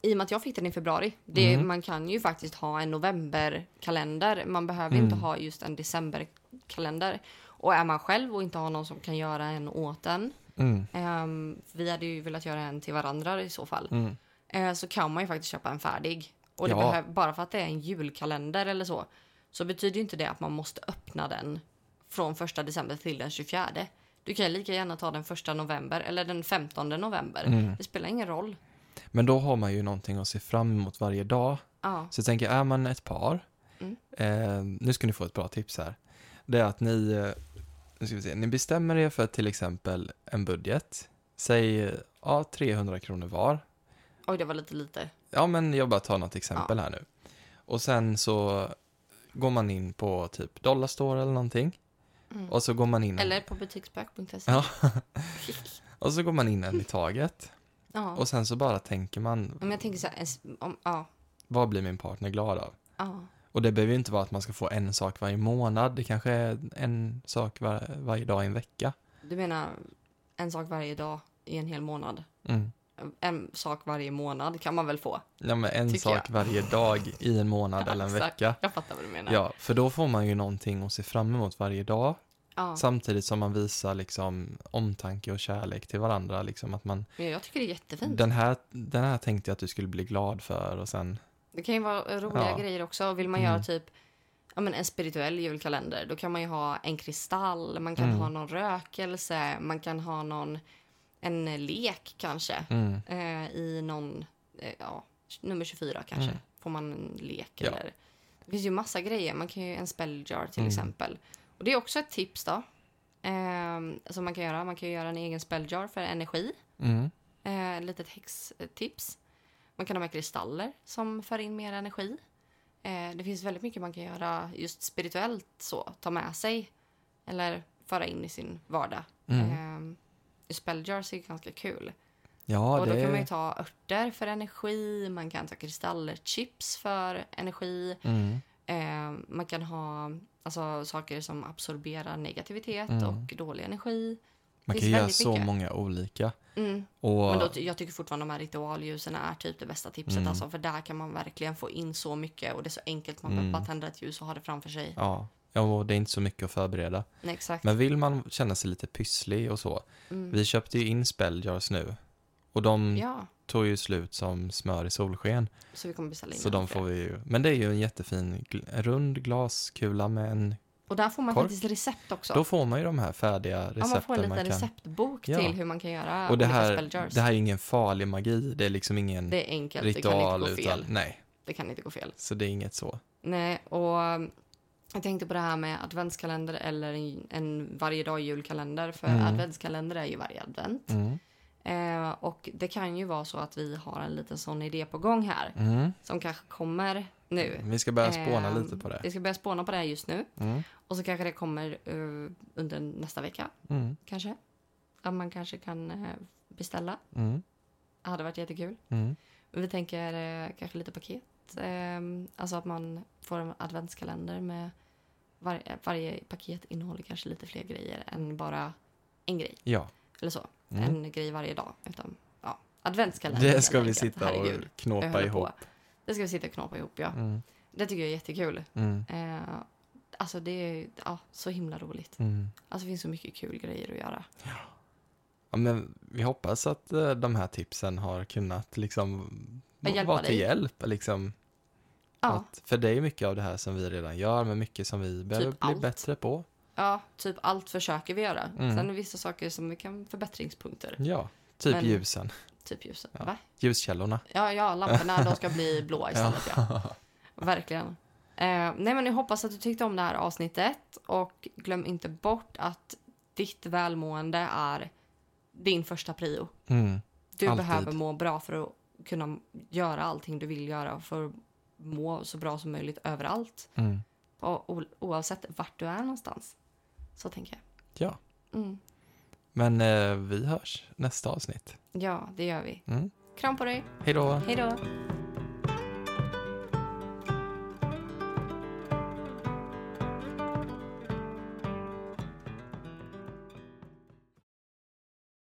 i och med att jag fick den i februari. Det,
Mm.
Man kan ju faktiskt ha en novemberkalender. Man behöver
Mm.
inte ha just en decemberkalender. Och är man själv och inte har någon som kan göra en åt en.
Mm,
Eh, vi hade ju velat göra en till varandra i så fall.
mm,
Eh, så kan man ju faktiskt köpa en färdig. Och det
Ja.
behöv, bara för att det är en julkalender eller så. Så betyder ju inte det att man måste öppna den från första december till den 24. Du kan ju lika gärna ta den första november eller den 15 november.
mm.
Det spelar ingen roll.
Men då har man ju någonting att se fram emot varje dag.
Ja,
Så jag tänker, är man ett par,
Mm.
eh, nu ska ni få ett bra tips här. Det är att ni, eh, nu ska vi se, ni bestämmer er för till exempel en budget. Säg eh, ja, 300 kronor var.
oj det var lite lite.
Ja, men jag bara tar något exempel här nu. Och sen så går man in på typ Dollarstore eller någonting.
Mm.
Och så går man in,
Eller på butiksbök.se.
Ja. och så går man in en i taget.
Ja.
Och sen så bara tänker man,
Om jag tänker så här, en s- om, ja,
vad blir min partner glad av?
ja,
Och det behöver ju inte vara att man ska få en sak varje månad. Det kanske är en sak var, varje dag i en vecka.
du menar en sak varje dag i en hel månad?
Mm.
En sak varje månad kan man väl få?
Ja, men en
Tycker
sak varje dag i en månad eller en
Exakt.
vecka.
Jag fattar vad du menar.
Ja, för då får man ju någonting att se fram emot varje dag.
Ja.
Samtidigt som man visar liksom omtanke och kärlek till varandra. Liksom att man,
Men jag tycker det är jättefint.
den, här, den här tänkte jag att du skulle bli glad för och sen...
Det kan ju vara roliga
Ja.
grejer också. Vill man
Mm.
göra typ ja, men en spirituell julkalender, då kan man ju ha en kristall, man kan
Mm.
ha någon rökelse, man kan ha någon, en lek kanske,
Mm,
eh, i någon, eh, ja, nummer 24 kanske,
Mm.
får man en lek
Ja.
eller. Det finns ju massa grejer, man kan ju en spelljar till
Mm.
exempel. Och det är också ett tips då, eh, som man kan göra. Man kan ju göra en egen spelljar för energi.
mm,
Eh, litet häxtips. Man kan ha med kristaller som för in mer energi. Eh, det finns väldigt mycket man kan göra just spirituellt så, ta med sig eller föra in i sin vardag.
mm.
Eh, spelljars är ju ganska kul.
Ja,
och då
det
kan man ju
är...
ta örter för energi, man kan ta kristaller, chips för energi.
Mm,
Eh, man kan ha alltså, saker som absorberar negativitet
Mm.
och dålig energi.
man
finns
kan göra
väldigt
så
mycket.
många olika.
Mm.
Och,
Men då, ty- jag tycker fortfarande de här ritualljusen är typ det bästa tipset.
Mm.
Alltså, för där kan man verkligen få in så mycket och det är så enkelt. Man
Mm.
behöver bara tända ett ljus och ha det framför sig.
ja, ja, och det är inte så mycket att förbereda.
Nej, exakt.
Men vill man känna sig lite pysslig och så.
Mm.
Vi köpte ju in Spelljars nu. Och de
Ja,
tog ju slut som smör i solsken.
så vi kommer beställa in
Så
den
de
för
får
det.
vi ju. Men det är ju en jättefin gl- en rund glaskula med en.
Och där får man
kork.
faktiskt recept också.
Då får man ju de här färdiga recepten.
ja, man får en liten
kan-
receptbok
Ja.
till hur man kan göra
Och det
olika
här,
spelljars.
det här är ingen farlig magi. Det är liksom ingen
Det är enkelt,
ritual.
det kan inte gå fel.
utan, nej,
Det kan inte gå fel.
så det är inget så.
Nej, och um, jag tänkte på det här med adventskalender eller en, en varje dag julkalender. För
Mm.
adventskalender är ju varje advent.
Mm.
Eh, och det kan ju vara så att vi har en liten sån idé på gång här.
Mm.
Som kanske kommer nu.
Vi ska börja spåna
Mm. Ehm,
lite på det.
Vi ska börja spåna på det här just nu.
Mm.
Och så kanske det kommer eh, under nästa vecka.
Mm.
Kanske. Att man kanske kan eh, beställa.
Mm.
Det hade varit jättekul.
Mm.
Vi tänker eh, kanske lite paket. Eh, alltså att man får en adventskalender med var, varje paket innehåller kanske lite fler grejer än bara en grej.
Ja,
Eller så.
Mm.
En grej varje dag. Utan, ja, adventskalender.
det
helt
ska vi
enkelt.
sitta och
Herregud, jag
knåpa
håller
ihop.
på. Det ska vi sitta och knåpa ihop, ja.
Mm.
Det tycker jag är jättekul.
Mm.
Eh, alltså det är ja, så himla roligt.
Mm.
Alltså det finns så mycket kul grejer att göra.
Ja, men vi hoppas att eh, de här tipsen har kunnat liksom
Att hjälpa
vara till
dig.
hjälp. Liksom,
Ja, Typ
att, för det är mycket av det här som vi redan gör, men mycket som vi behöver bli
allt.
bättre på.
ja typ allt försöker vi göra.
Mm.
Sen är det vissa saker som vi kan förbättringspunkter.
Ja, typ
Men-
ljusen,
Typ ljuset.
Ja.
Va?
ljuskällorna.
Ja, ja, lamporna de ska bli blåa istället. Ja. Verkligen. Eh, nej, men jag hoppas att du tyckte om det här avsnittet. Och glöm inte bort att ditt välmående är din första prio.
Mm.
Du
Alltid.
behöver må bra för att kunna göra allting du vill göra. och För att må så bra som möjligt överallt.
Mm.
Och o- oavsett vart du är någonstans. Så tänker
Ja,
jag. Mm.
men eh, vi hörs nästa avsnitt.
Ja, det gör vi.
Mm.
Kram på dig.
Hej då!
Hej då.